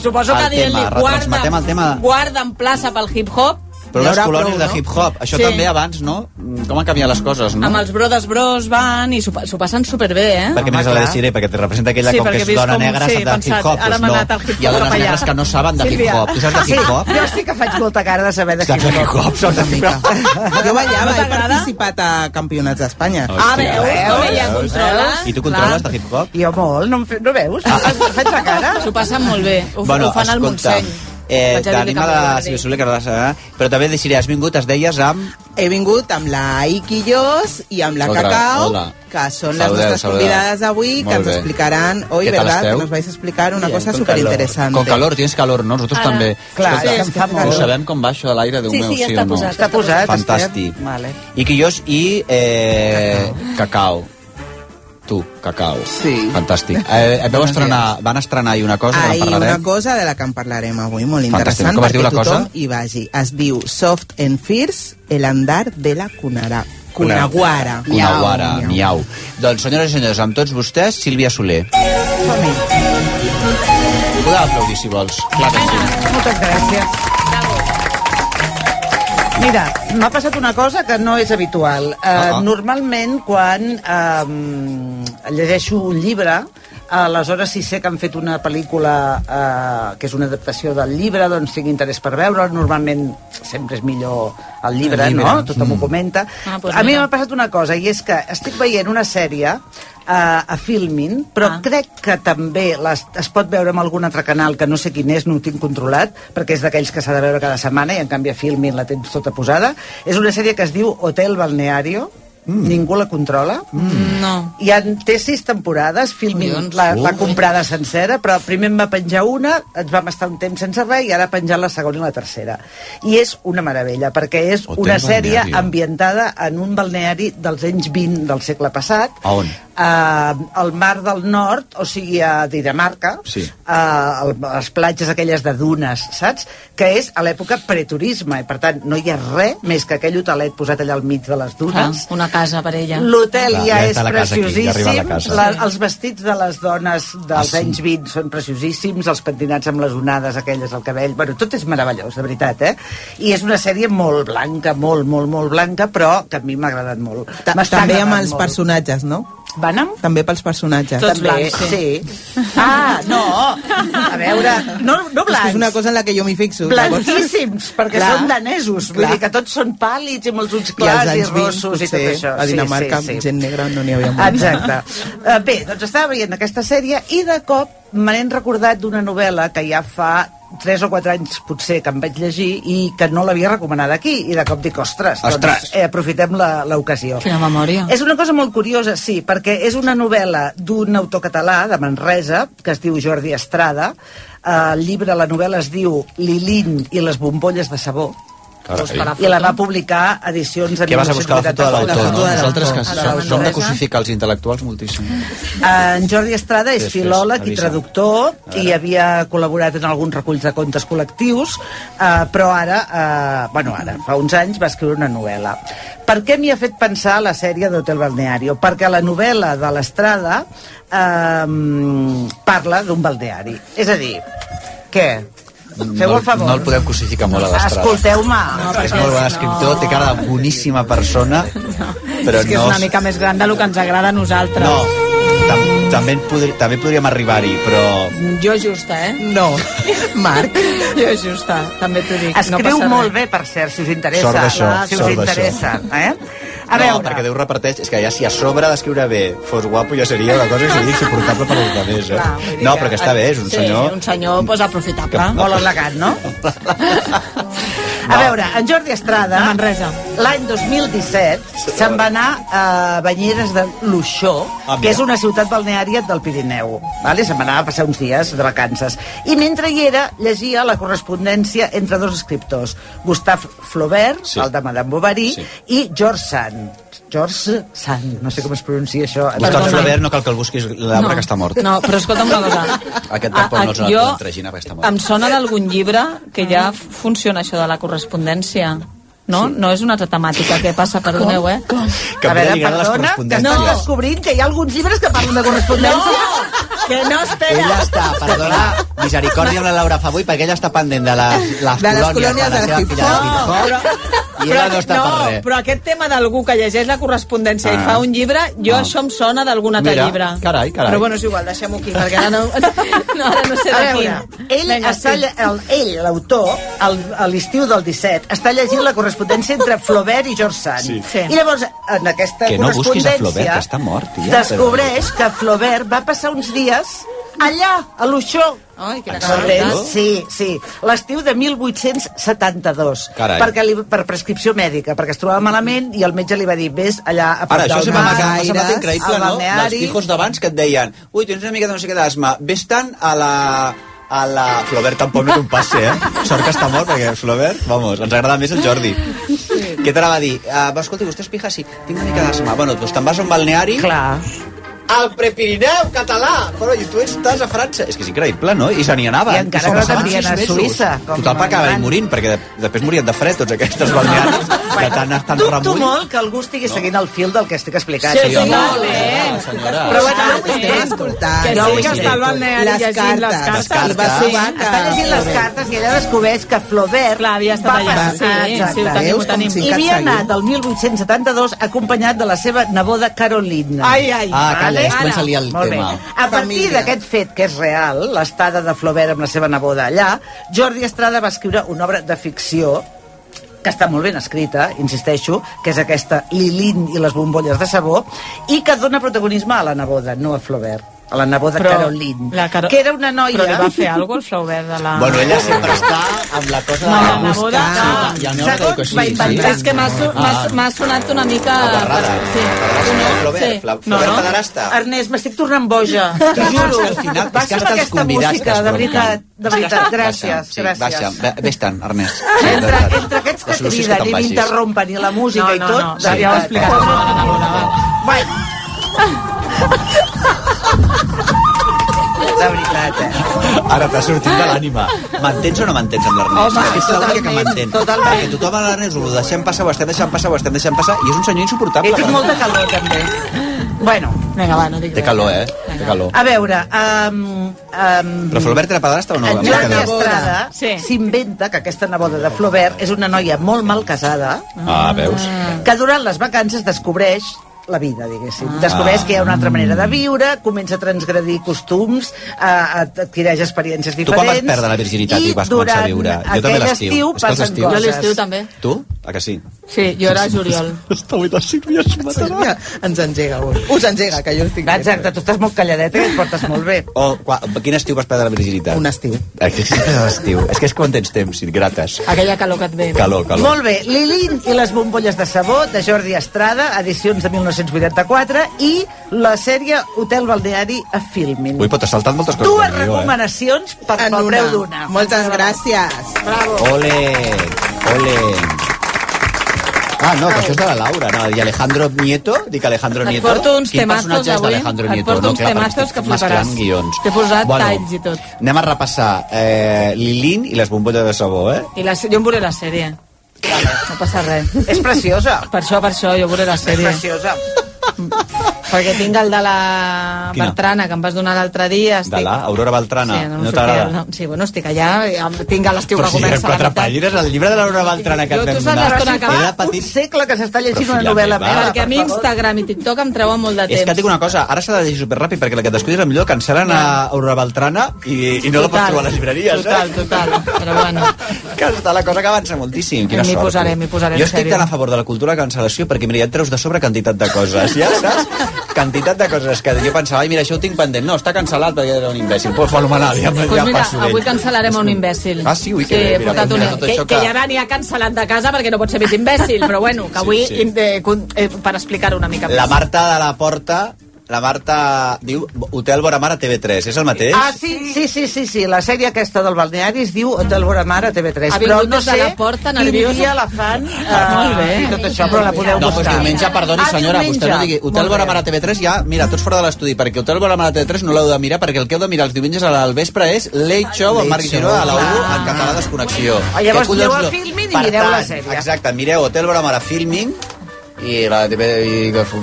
[SPEAKER 12] Suposo que
[SPEAKER 11] el
[SPEAKER 12] dient-li,
[SPEAKER 11] tema, retransmetem el tema.
[SPEAKER 12] guarda, guarda en plaça pel hip-hop.
[SPEAKER 11] però
[SPEAKER 12] Hi
[SPEAKER 11] les
[SPEAKER 12] haurà
[SPEAKER 11] colònies
[SPEAKER 12] prou,
[SPEAKER 11] de
[SPEAKER 12] no?
[SPEAKER 11] hip-hop, això
[SPEAKER 12] Sí.
[SPEAKER 11] també abans, no? Mm, Com han canviat les coses, no?
[SPEAKER 12] Amb els brodes bros van i s'ho pa- s'ho passen superbé, eh?
[SPEAKER 11] Perquè més a la de Siré, perquè te representa aquella
[SPEAKER 12] Sí,
[SPEAKER 11] com que
[SPEAKER 12] perquè
[SPEAKER 11] és
[SPEAKER 12] he vist
[SPEAKER 11] dona
[SPEAKER 12] com-
[SPEAKER 11] negra,
[SPEAKER 12] sí,
[SPEAKER 11] sap de
[SPEAKER 12] he pensat,
[SPEAKER 11] hip-hop.
[SPEAKER 12] ara
[SPEAKER 11] Doncs
[SPEAKER 12] m'ha
[SPEAKER 11] no.
[SPEAKER 12] anat el hip-hop
[SPEAKER 11] Hi ha dones
[SPEAKER 12] cap allà.
[SPEAKER 11] negres que no saben de
[SPEAKER 15] Sílvia,
[SPEAKER 11] hip-hop. Tu saps de
[SPEAKER 15] sí,
[SPEAKER 11] hip-hop?
[SPEAKER 15] Jo sí que faig molta cara de saber de
[SPEAKER 11] Saps de
[SPEAKER 15] hip-hop.
[SPEAKER 11] hip-hop? Saps de hip-hop?
[SPEAKER 13] [LAUGHS] Jo ballava, he participat a campionats d'Espanya.
[SPEAKER 11] Ah, veus? Com ella
[SPEAKER 12] controla.
[SPEAKER 11] I tu controles de hip-hop?
[SPEAKER 15] Jo molt, no, em fe- no veus? Faig la cara.
[SPEAKER 12] S'ho passen molt bé. Ho, bueno, ho fan al Montseny.
[SPEAKER 11] Eh,
[SPEAKER 12] Vaig a dir-li
[SPEAKER 11] Tenim
[SPEAKER 12] que
[SPEAKER 11] a
[SPEAKER 12] em
[SPEAKER 11] la
[SPEAKER 12] agradi.
[SPEAKER 11] Silvia Soler, que ara la serà, però també decidiré, has vingut, es deies amb...
[SPEAKER 13] He vingut amb la Iquillos i amb la
[SPEAKER 11] Otra,
[SPEAKER 13] Cacao,
[SPEAKER 11] hola.
[SPEAKER 13] que són les
[SPEAKER 11] Saludeu,
[SPEAKER 13] nostres
[SPEAKER 11] saludeu.
[SPEAKER 13] convidades d'avui, que
[SPEAKER 11] Molt
[SPEAKER 13] ens
[SPEAKER 11] bé.
[SPEAKER 13] explicaran, oi,
[SPEAKER 11] Què tal
[SPEAKER 13] verdad,
[SPEAKER 11] esteu?
[SPEAKER 13] que nos vais a explicar una
[SPEAKER 11] Bien,
[SPEAKER 13] cosa
[SPEAKER 11] con
[SPEAKER 13] superinteresante.
[SPEAKER 11] Con calor, tienes calor, no? Nosaltres
[SPEAKER 13] Ara.
[SPEAKER 11] també.
[SPEAKER 13] Clar,
[SPEAKER 11] Escolta,
[SPEAKER 13] sí, és que fa
[SPEAKER 11] Ho
[SPEAKER 13] calor.
[SPEAKER 11] sabem com baixo de l'aire, Déu
[SPEAKER 13] Sí,
[SPEAKER 11] meu,
[SPEAKER 13] sí, ja
[SPEAKER 11] sí
[SPEAKER 13] està
[SPEAKER 11] o no?
[SPEAKER 13] posat, Està està posat, posat.
[SPEAKER 11] Fantàstic.
[SPEAKER 13] Esther. Vale.
[SPEAKER 11] I quillos i eh, cacao. Tu, cacao.
[SPEAKER 13] Sí.
[SPEAKER 11] Fantàstic. Eh, eh, vau
[SPEAKER 13] Buenos
[SPEAKER 11] estrenar, van estrenar ahir una cosa, que
[SPEAKER 13] Ahir
[SPEAKER 11] en
[SPEAKER 13] una
[SPEAKER 11] parlarem.
[SPEAKER 13] cosa de la que en parlarem avui, molt
[SPEAKER 11] Fantàstic.
[SPEAKER 13] interessant,
[SPEAKER 11] Com es diu
[SPEAKER 13] perquè
[SPEAKER 11] la cosa?
[SPEAKER 13] tothom hi vagi. Es diu Soft and Fierce, el andar de la cunara. Cunaguara.
[SPEAKER 11] Cunaguara, miau. Doncs, senyores i senyors, amb tots vostès, Sílvia Soler. Podeu aplaudir, si vols. Clar que sí.
[SPEAKER 15] Moltes gràcies. Mira, m'ha passat una cosa que no és habitual. Uh,
[SPEAKER 11] Ah, ah.
[SPEAKER 15] Normalment, quan uh, llegeixo un llibre, aleshores si sé que han fet una pel·lícula uh, que és una adaptació del llibre, doncs tinc interès per veure Normalment sempre és millor
[SPEAKER 13] El
[SPEAKER 15] el llibre, el
[SPEAKER 13] llibre.
[SPEAKER 15] llibre. no? Tothom mm. ho comenta.
[SPEAKER 13] Ah,
[SPEAKER 15] Ah,
[SPEAKER 13] doncs
[SPEAKER 15] doncs a mi
[SPEAKER 13] mira.
[SPEAKER 15] m'ha passat una cosa, i és que estic veient una sèrie eh, a, a Filmin, però ah. crec que també les, es pot veure en algun altre canal que no sé quin és, no ho tinc controlat, perquè és d'aquells que s'ha de veure cada setmana i en canvi a Filmin la tens tota posada. És una sèrie que es diu Hotel Balneario, Mm. Ningú la controla. Mm.
[SPEAKER 12] No.
[SPEAKER 15] I en té sis temporades, Filmin
[SPEAKER 12] Collons.
[SPEAKER 15] la, la
[SPEAKER 12] Ui.
[SPEAKER 15] comprada sencera, però primer en va penjar una, ens vam estar un temps sense res, i ara ha penjat la segona i la tercera. I és una meravella, perquè és
[SPEAKER 11] Hotel
[SPEAKER 15] una sèrie
[SPEAKER 11] Balneario.
[SPEAKER 15] ambientada en un balneari dels anys 20 del segle passat,
[SPEAKER 11] A on?
[SPEAKER 15] eh, al mar del nord, o sigui, a Dinamarca,
[SPEAKER 11] Sí.
[SPEAKER 15] eh, el- les platges aquelles de dunes, saps? Que és a l'època preturisme, i per tant no hi ha res més que aquell hotelet posat allà al mig de les
[SPEAKER 12] Clar,
[SPEAKER 15] dunes.
[SPEAKER 12] una casa per ella.
[SPEAKER 15] L'hotel
[SPEAKER 11] Clar,
[SPEAKER 15] ja
[SPEAKER 11] ja
[SPEAKER 15] és
[SPEAKER 11] està la casa aquí, ja
[SPEAKER 15] preciosíssim,
[SPEAKER 11] arriba la casa.
[SPEAKER 15] la, els vestits de les dones dels
[SPEAKER 11] Ah,
[SPEAKER 15] ah,
[SPEAKER 11] sí?
[SPEAKER 15] sí? anys 20 són preciosíssims, els pentinats amb les onades aquelles al cabell, bueno, tot és meravellós, de veritat, eh? I és una sèrie molt blanca, molt, molt, molt blanca, però que a mi m'ha agradat molt.
[SPEAKER 13] Ta
[SPEAKER 15] M'està
[SPEAKER 13] també amb
[SPEAKER 15] agradant
[SPEAKER 13] els
[SPEAKER 15] molt.
[SPEAKER 13] personatges, no?
[SPEAKER 15] Van amb?
[SPEAKER 13] També pels personatges.
[SPEAKER 15] També, sí. Ah, no! A veure, no, no
[SPEAKER 13] És, que
[SPEAKER 15] blancs.
[SPEAKER 13] és una cosa en la que jo m'hi fixo. llavors.
[SPEAKER 15] Blanquíssims, perquè
[SPEAKER 13] Clar.
[SPEAKER 15] són danesos. Vull
[SPEAKER 13] Clar.
[SPEAKER 15] dir que tots són pàl·lids i amb els ulls
[SPEAKER 13] I als
[SPEAKER 15] clars i,
[SPEAKER 13] anys 20,
[SPEAKER 15] rossos i tot
[SPEAKER 13] potser,
[SPEAKER 15] això.
[SPEAKER 13] a Dinamarca,
[SPEAKER 15] sí, sí, sí.
[SPEAKER 13] gent negra no n'hi havia molt.
[SPEAKER 15] Exacte. Eh, Bé, doncs estava veient aquesta sèrie i de cop me n'he recordat d'una novel·la que ja fa 3 o 4 anys potser que em vaig llegir i que no l'havia recomanada aquí i de cop dic, ostres,
[SPEAKER 12] Ostres.
[SPEAKER 15] doncs eh, aprofitem la- l'ocasió.
[SPEAKER 12] Quina memòria.
[SPEAKER 15] És una cosa molt curiosa, sí, perquè és una novel·la d'un autor català de Manresa, que es diu Jordi Estrada. Eh, El llibre, la novel·la es diu Lilín i les bombolles de sabó. I la va publicar Edicions... en
[SPEAKER 11] Que vas a buscar la foto de
[SPEAKER 15] 1988.
[SPEAKER 11] l'autor, no?
[SPEAKER 15] de
[SPEAKER 11] Nosaltres que
[SPEAKER 15] l'autor.
[SPEAKER 11] som- som de cosificar els intel·lectuals moltíssim.
[SPEAKER 15] En Jordi Estrada és
[SPEAKER 11] Després,
[SPEAKER 15] filòleg i
[SPEAKER 11] avisa.
[SPEAKER 15] traductor i havia col·laborat en alguns reculls de contes col·lectius, eh, però ara, eh, bueno, ara, fa uns anys va escriure una novel·la. Per què m'hi ha fet pensar la sèrie d'Hotel Balneario? Perquè la novel·la de l'Estrada eh, parla d'un balneari. És a dir, què? Feu
[SPEAKER 11] no,
[SPEAKER 15] el favor.
[SPEAKER 11] No el podem cosificar molt a l'estrada.
[SPEAKER 15] Escolteu-me.
[SPEAKER 11] és molt bon escriptor, té cara de boníssima persona, però
[SPEAKER 17] és que és
[SPEAKER 11] no...
[SPEAKER 17] una mica més gran de lo que ens agrada a nosaltres. No.
[SPEAKER 11] Tam, també, en podri, també podríem arribar-hi, però...
[SPEAKER 17] Jo justa, eh?
[SPEAKER 13] No.
[SPEAKER 17] Marc, jo justa, també t'ho dic.
[SPEAKER 15] Escriu
[SPEAKER 17] no
[SPEAKER 15] molt bé, per cert, si us interessa.
[SPEAKER 11] Sort d'això,
[SPEAKER 15] si us
[SPEAKER 11] sort d'això.
[SPEAKER 15] interessa. Eh? A
[SPEAKER 11] no,
[SPEAKER 15] veure,
[SPEAKER 11] perquè Déu reparteix... És que ja si a sobre d'escriure bé fos guapo, ja seria una cosa que seria insuportable per als altres, eh? no, però que està bé, és un
[SPEAKER 17] sí,
[SPEAKER 11] senyor...
[SPEAKER 17] un senyor pues, aprofitable.
[SPEAKER 11] Que- Molt
[SPEAKER 15] elegant, no? A veure, en Jordi Estrada, l'any 2017, se'n va anar a Banyeres de Luixó,
[SPEAKER 11] Ah, mira.
[SPEAKER 15] que és una ciutat balneària del Pirineu. Vale? Se'n va anar a passar uns dies de vacances. I mentre hi era, llegia la correspondència entre dos escriptors, Gustave Flaubert,
[SPEAKER 11] Sí.
[SPEAKER 15] el de Madame Bovary,
[SPEAKER 11] Sí.
[SPEAKER 15] i George Sand. George Sand, no sé com es pronuncia això.
[SPEAKER 11] Gustavo
[SPEAKER 15] Perdona.
[SPEAKER 11] Flaubert, no cal que el busquis, l'obra
[SPEAKER 17] No.
[SPEAKER 11] que està mort.
[SPEAKER 17] No, però escolta'm una cosa.
[SPEAKER 11] Aquest tampoc
[SPEAKER 17] A-
[SPEAKER 11] no se
[SPEAKER 17] a- jo-
[SPEAKER 11] l'ha tragina, perquè està mort.
[SPEAKER 17] Em sona d'algun llibre que ja f- funciona això de la correspondència. No? Sí. No és una altra temàtica que passa, perdoneu, eh? Com?
[SPEAKER 11] Que
[SPEAKER 15] a
[SPEAKER 11] em
[SPEAKER 15] veure,
[SPEAKER 11] podria lligar les
[SPEAKER 15] perdona, que
[SPEAKER 11] correspondències.
[SPEAKER 15] estic descobrint que hi ha alguns llibres que parlen de correspondència.
[SPEAKER 17] Que no, espera.
[SPEAKER 11] Ella està, perdona, misericòrdia amb la Laura Favui, perquè ella està pendent de les, les,
[SPEAKER 17] De les colònies
[SPEAKER 11] colònies de la
[SPEAKER 17] del
[SPEAKER 11] seva filla de hip-hop, i ella no està per res.
[SPEAKER 17] però aquest tema d'algú que llegeix la correspondència
[SPEAKER 11] Ah.
[SPEAKER 17] i fa un llibre, jo
[SPEAKER 11] Ah.
[SPEAKER 17] això em sona d'algun altre
[SPEAKER 11] Mira,
[SPEAKER 17] llibre.
[SPEAKER 11] carai, carai.
[SPEAKER 17] Però bueno, és igual, deixem-ho aquí, perquè ara no, [LAUGHS] no, ara no sé
[SPEAKER 15] A
[SPEAKER 17] de
[SPEAKER 15] veure,
[SPEAKER 17] quin.
[SPEAKER 15] ell, està, lle- el, ell l'autor, al- a l'estiu del 17, està llegint la correspondència entre Flaubert i George Sand.
[SPEAKER 11] Sí.
[SPEAKER 17] Sí.
[SPEAKER 15] I llavors, en aquesta
[SPEAKER 11] Que no busquis a
[SPEAKER 15] correspondència,
[SPEAKER 11] Flaubert, que està mort, tia.
[SPEAKER 15] descobreix que Flaubert va passar uns dies allà, a l'Uixó.
[SPEAKER 17] Ai, quina
[SPEAKER 15] Entens? Sí, sí. L'estiu de 1872.
[SPEAKER 11] Carai.
[SPEAKER 15] Perquè li, per prescripció mèdica, perquè es trobava malament i el metge li va dir, vés allà a prop
[SPEAKER 11] Ara, això
[SPEAKER 15] del
[SPEAKER 11] se m'ha
[SPEAKER 15] mar,
[SPEAKER 11] m'ha semblat increïble,
[SPEAKER 15] al
[SPEAKER 11] no? Dels
[SPEAKER 15] balneari.
[SPEAKER 11] pijos d'abans que et deien ui, tens una mica de no sé què d'asma, vés tant a la... A la... Flaubert tampoc no t'ho passi, eh? Sort que està mort, perquè Flaubert, vamos, ens agrada més el Jordi. Què t'anava a dir? Uh, escolta, vostè és pija, sí, tinc una mica d'asma. Bueno, doncs te'n vas a un balneari...
[SPEAKER 15] Clar.
[SPEAKER 11] Al Prepirineu català! Però i tu estàs a França. És que és increïble, no? I se n'hi anaven.
[SPEAKER 15] I encara
[SPEAKER 11] s'ho
[SPEAKER 15] que no
[SPEAKER 11] passaven
[SPEAKER 15] t'envien
[SPEAKER 11] sis
[SPEAKER 15] a
[SPEAKER 11] mesos.
[SPEAKER 15] Suïssa, com
[SPEAKER 11] Total, va acabar
[SPEAKER 15] van.
[SPEAKER 11] morint, perquè de, després morien de fred tots aquestes balnearis, de tant estar en
[SPEAKER 15] Dubto
[SPEAKER 11] remull.
[SPEAKER 15] molt que algú estigui seguint el fil del que estic explicant.
[SPEAKER 11] Sí, home,
[SPEAKER 15] molt bé.
[SPEAKER 11] senyora.
[SPEAKER 15] Però bueno,
[SPEAKER 13] Ah,
[SPEAKER 15] ho
[SPEAKER 13] estem
[SPEAKER 15] intento.
[SPEAKER 13] escoltant.
[SPEAKER 15] Que
[SPEAKER 13] Jo
[SPEAKER 15] sí,
[SPEAKER 13] ho
[SPEAKER 15] que
[SPEAKER 13] intento.
[SPEAKER 15] està al balneari
[SPEAKER 13] Les
[SPEAKER 15] llegint
[SPEAKER 13] cartes.
[SPEAKER 15] les cartes.
[SPEAKER 13] I va
[SPEAKER 15] Sí,
[SPEAKER 13] ser
[SPEAKER 15] està llegint les cartes i ella descobreix que Flaubert Clar, havia
[SPEAKER 17] estat allà. Sí, sí, ho tenim, ho Veus com tenim. sí
[SPEAKER 15] I
[SPEAKER 17] que
[SPEAKER 15] havia
[SPEAKER 17] et seguim.
[SPEAKER 15] anat el 1872 acompanyat de la seva neboda Carolina.
[SPEAKER 17] Ai, ai.
[SPEAKER 11] Ah, calla, es comença a liar el
[SPEAKER 15] Molt
[SPEAKER 11] tema.
[SPEAKER 15] Bé. A partir d'aquest fet, que és real, l'estada de Flaubert amb la seva neboda allà, Jordi Estrada va escriure una obra de ficció que està molt ben escrita, insisteixo, que és aquesta Lilín i les bombolles de sabó, i que dona protagonisme a la neboda, no a Flaubert. a la neboda
[SPEAKER 12] Però
[SPEAKER 15] Caroline,
[SPEAKER 12] la Caro-
[SPEAKER 15] que era una noia...
[SPEAKER 12] Però li va fer alguna cosa el Flaubert de la...
[SPEAKER 11] Bueno, ella sempre està amb la cosa de
[SPEAKER 12] No,
[SPEAKER 11] la
[SPEAKER 12] la neboda, no.
[SPEAKER 11] I el meu neboda diu que sí.
[SPEAKER 12] Va inventar. És que m'ha so- m'ha-
[SPEAKER 11] Ah.
[SPEAKER 12] m'ha sonat una mica...
[SPEAKER 11] Agarrada.
[SPEAKER 12] Sí.
[SPEAKER 11] Flaubert, Fla-
[SPEAKER 12] No,
[SPEAKER 11] Flaubert
[SPEAKER 12] no.
[SPEAKER 11] Padrasta.
[SPEAKER 15] Ernest, m'estic tornant boja. T'ho juro.
[SPEAKER 11] que
[SPEAKER 15] Baixa'm
[SPEAKER 11] hasta els
[SPEAKER 15] aquesta
[SPEAKER 11] convidats que
[SPEAKER 15] música,
[SPEAKER 11] es
[SPEAKER 15] de
[SPEAKER 11] provoquen.
[SPEAKER 15] veritat. De veritat,
[SPEAKER 11] Baixa,
[SPEAKER 15] gràcies.
[SPEAKER 11] sí,
[SPEAKER 15] gràcies.
[SPEAKER 11] Baixa, Ve- vés-te'n, Ernest.
[SPEAKER 15] Entre, entre aquests que
[SPEAKER 11] La solució és que
[SPEAKER 15] criden
[SPEAKER 11] te'n
[SPEAKER 15] i
[SPEAKER 11] vagis.
[SPEAKER 15] m'interrompen i la música
[SPEAKER 12] No,
[SPEAKER 15] i
[SPEAKER 12] no,
[SPEAKER 15] tot...
[SPEAKER 12] no,
[SPEAKER 15] de
[SPEAKER 12] sí, ja ho
[SPEAKER 15] veritat.
[SPEAKER 12] explicaràs.
[SPEAKER 15] Bueno. De veritat, eh?
[SPEAKER 11] Ara t'ha sortit de l'ànima. M'entens o no m'entens amb l'Ernest?
[SPEAKER 15] Home,
[SPEAKER 11] és que és l'única que
[SPEAKER 15] totalment,
[SPEAKER 11] m'entén.
[SPEAKER 15] totalment.
[SPEAKER 11] Perquè tothom a l'Ernest ho deixem passar, ho estem deixant passar, ho estem deixant passar, i és un senyor
[SPEAKER 15] He
[SPEAKER 11] insuportable.
[SPEAKER 15] tinc molta calor, també. Bueno. Vinga, va, no dic
[SPEAKER 11] Té calor, eh? Té calor.
[SPEAKER 15] A veure... Um, um,
[SPEAKER 11] Però Flaubert era padrastra o no?
[SPEAKER 15] En Joan Estrada s'inventa que aquesta neboda de Flaubert és una noia molt mal casada
[SPEAKER 11] Ah, veus?
[SPEAKER 15] que durant les vacances descobreix la vida, diguéssim.
[SPEAKER 11] Ah.
[SPEAKER 15] Descobreix que hi ha una altra manera de viure, comença a transgredir costums, a, a, adquireix experiències
[SPEAKER 11] Tu quan
[SPEAKER 15] diferents...
[SPEAKER 11] vas perdre la virginitat i, vas començar a viure?
[SPEAKER 15] Jo també l'estiu.
[SPEAKER 11] És que els
[SPEAKER 15] passen
[SPEAKER 11] estius-
[SPEAKER 15] coses.
[SPEAKER 12] també.
[SPEAKER 11] Tu? A que sí?
[SPEAKER 12] Sí, jo era juliol.
[SPEAKER 11] [LAUGHS] Està avui de 5 dies
[SPEAKER 15] Sílvia, ens engega un. Us engega, que jo estic... Exacte, tu estàs molt calladeta i et portes molt bé.
[SPEAKER 11] O, qua, quin estiu vas perdre la virginitat? Un
[SPEAKER 15] estiu.
[SPEAKER 11] [LAUGHS] estiu. És que és quan tens temps, grates.
[SPEAKER 15] Aquella calor que et ve.
[SPEAKER 11] Calor, calor.
[SPEAKER 15] Molt bé, Lilin i les bombolles de sabó, de Jordi Estrada, edicions de 1984, i la sèrie Hotel Balneari a Filmin.
[SPEAKER 11] Avui pot assaltar moltes coses.
[SPEAKER 15] Dues
[SPEAKER 11] del guió, eh?
[SPEAKER 15] recomanacions per,
[SPEAKER 18] En
[SPEAKER 15] pel
[SPEAKER 18] una.
[SPEAKER 15] preu d'una.
[SPEAKER 18] Moltes gràcies.
[SPEAKER 15] Bravo.
[SPEAKER 11] Ole, ole. Ah, no, que això és de la Laura, no? I Alejandro Nieto? Dic Alejandro
[SPEAKER 12] Et
[SPEAKER 11] Nieto?
[SPEAKER 12] porto uns
[SPEAKER 11] Quin
[SPEAKER 12] temazos
[SPEAKER 11] personatge és
[SPEAKER 12] avui.
[SPEAKER 11] d'Alejandro
[SPEAKER 12] Et
[SPEAKER 11] Nieto?
[SPEAKER 12] porto uns
[SPEAKER 11] clar, perquè
[SPEAKER 12] temazos
[SPEAKER 11] estic
[SPEAKER 12] que fliparàs.
[SPEAKER 11] mesclant guions.
[SPEAKER 12] T'he posat
[SPEAKER 11] Bueno.
[SPEAKER 12] talls i tot.
[SPEAKER 11] Anem a repassar eh, Lilin i les bombolles de sabó, eh?
[SPEAKER 12] I la, se- jo em veuré la sèrie. No passa res.
[SPEAKER 15] És preciosa.
[SPEAKER 12] Per això, per això, jo veuré la sèrie.
[SPEAKER 15] preciosa.
[SPEAKER 12] Perquè tinc el de la
[SPEAKER 11] Quina?
[SPEAKER 12] Bertrana, que em vas donar l'altre dia. Estic...
[SPEAKER 11] De la Aurora Beltrana.
[SPEAKER 12] Sí, no, no,
[SPEAKER 11] no
[SPEAKER 12] t'agrada?
[SPEAKER 11] t'agrada?
[SPEAKER 12] No. Sí, bueno, estic allà, em- tinc a l'estiu
[SPEAKER 11] Però
[SPEAKER 12] que
[SPEAKER 11] si eren
[SPEAKER 12] comença la
[SPEAKER 11] quatre
[SPEAKER 12] meitat.
[SPEAKER 11] pàgines, el llibre de l'Aurora Beltrana que
[SPEAKER 12] Jo,
[SPEAKER 11] et
[SPEAKER 12] tu
[SPEAKER 11] vam
[SPEAKER 12] saps l'estona
[SPEAKER 11] donar.
[SPEAKER 12] que fa?
[SPEAKER 11] Era petit.
[SPEAKER 15] Un segle que s'està llegint
[SPEAKER 11] Però,
[SPEAKER 15] una
[SPEAKER 11] filla
[SPEAKER 15] novel·la
[SPEAKER 11] meva.
[SPEAKER 15] meva.
[SPEAKER 12] Perquè a mi Instagram i TikTok em treuen molt de temps.
[SPEAKER 11] És que et dic una cosa, ara s'ha de llegir superràpid perquè la que t'escollis és la millor, cancel·len a Aurora Beltrana i, i no la pots
[SPEAKER 12] Total.
[SPEAKER 11] trobar a les llibreries.
[SPEAKER 12] Total,
[SPEAKER 11] eh?
[SPEAKER 12] total. Però bueno,
[SPEAKER 11] [LAUGHS] Que està la cosa que avança moltíssim. Quina
[SPEAKER 12] M'hi
[SPEAKER 11] sort.
[SPEAKER 12] posaré, m'hi posaré,
[SPEAKER 11] Jo
[SPEAKER 12] en
[SPEAKER 11] estic
[SPEAKER 12] sèrio.
[SPEAKER 11] tan a favor de la cultura de cancel·lació perquè, mira, ja et treus de sobre quantitat de coses, ja saps? quantitat de coses que jo pensava, ai, mira, això ho tinc pendent. No, està cancel·lat perquè era un imbècil. Pues fenomenal, ja,
[SPEAKER 12] doncs
[SPEAKER 11] ja
[SPEAKER 12] mira,
[SPEAKER 11] passo
[SPEAKER 12] avui
[SPEAKER 11] d'ell.
[SPEAKER 12] cancel·larem un imbècil.
[SPEAKER 11] Ah, sí? Ui, que
[SPEAKER 12] sí,
[SPEAKER 11] bé,
[SPEAKER 12] he
[SPEAKER 11] mira,
[SPEAKER 12] portat un...
[SPEAKER 11] mira, tot
[SPEAKER 12] Que,
[SPEAKER 11] això
[SPEAKER 12] que
[SPEAKER 11] que-
[SPEAKER 12] ja venia cancel·lat de casa perquè no pot ser més imbècil, però bueno, que avui,
[SPEAKER 11] Sí, sí.
[SPEAKER 12] in- eh, con- eh, per explicar-ho una mica
[SPEAKER 11] La Marta de la Porta, la Marta diu Hotel Vora Mar a TV3, és el mateix?
[SPEAKER 15] Ah, sí, sí, sí, sí, sí, la sèrie aquesta del balneari es diu Hotel Vora Mar a TV3,
[SPEAKER 12] Ha
[SPEAKER 15] però
[SPEAKER 12] vingut
[SPEAKER 15] no
[SPEAKER 12] des de
[SPEAKER 15] sé
[SPEAKER 12] la porta,
[SPEAKER 15] quin
[SPEAKER 12] nerviosa.
[SPEAKER 15] dia la fan
[SPEAKER 11] Molt
[SPEAKER 15] eh, i tot això, però la podeu
[SPEAKER 11] Ah. No, pues
[SPEAKER 15] buscar.
[SPEAKER 11] diumenge, perdoni,
[SPEAKER 15] Ah,
[SPEAKER 11] senyora,
[SPEAKER 15] diumenge.
[SPEAKER 11] vostè no digui Hotel
[SPEAKER 15] Molt
[SPEAKER 11] Vora
[SPEAKER 15] bé.
[SPEAKER 11] Mar a TV3, ja, mira, tots fora de l'estudi, perquè Hotel Vora Mar a TV3 no l'heu de mirar, perquè el que heu de mirar els diumenges al vespre és Late Show amb Marc Giró a la 1 en català desconnexió.
[SPEAKER 15] Ah, llavors
[SPEAKER 11] Que collons
[SPEAKER 15] aneu a
[SPEAKER 11] no?
[SPEAKER 15] Filmin i
[SPEAKER 11] Per
[SPEAKER 15] mireu la
[SPEAKER 11] tant,
[SPEAKER 15] sèrie.
[SPEAKER 11] Exacte, mireu Hotel Vora Mar a Filmin, i la TV... I... que fu-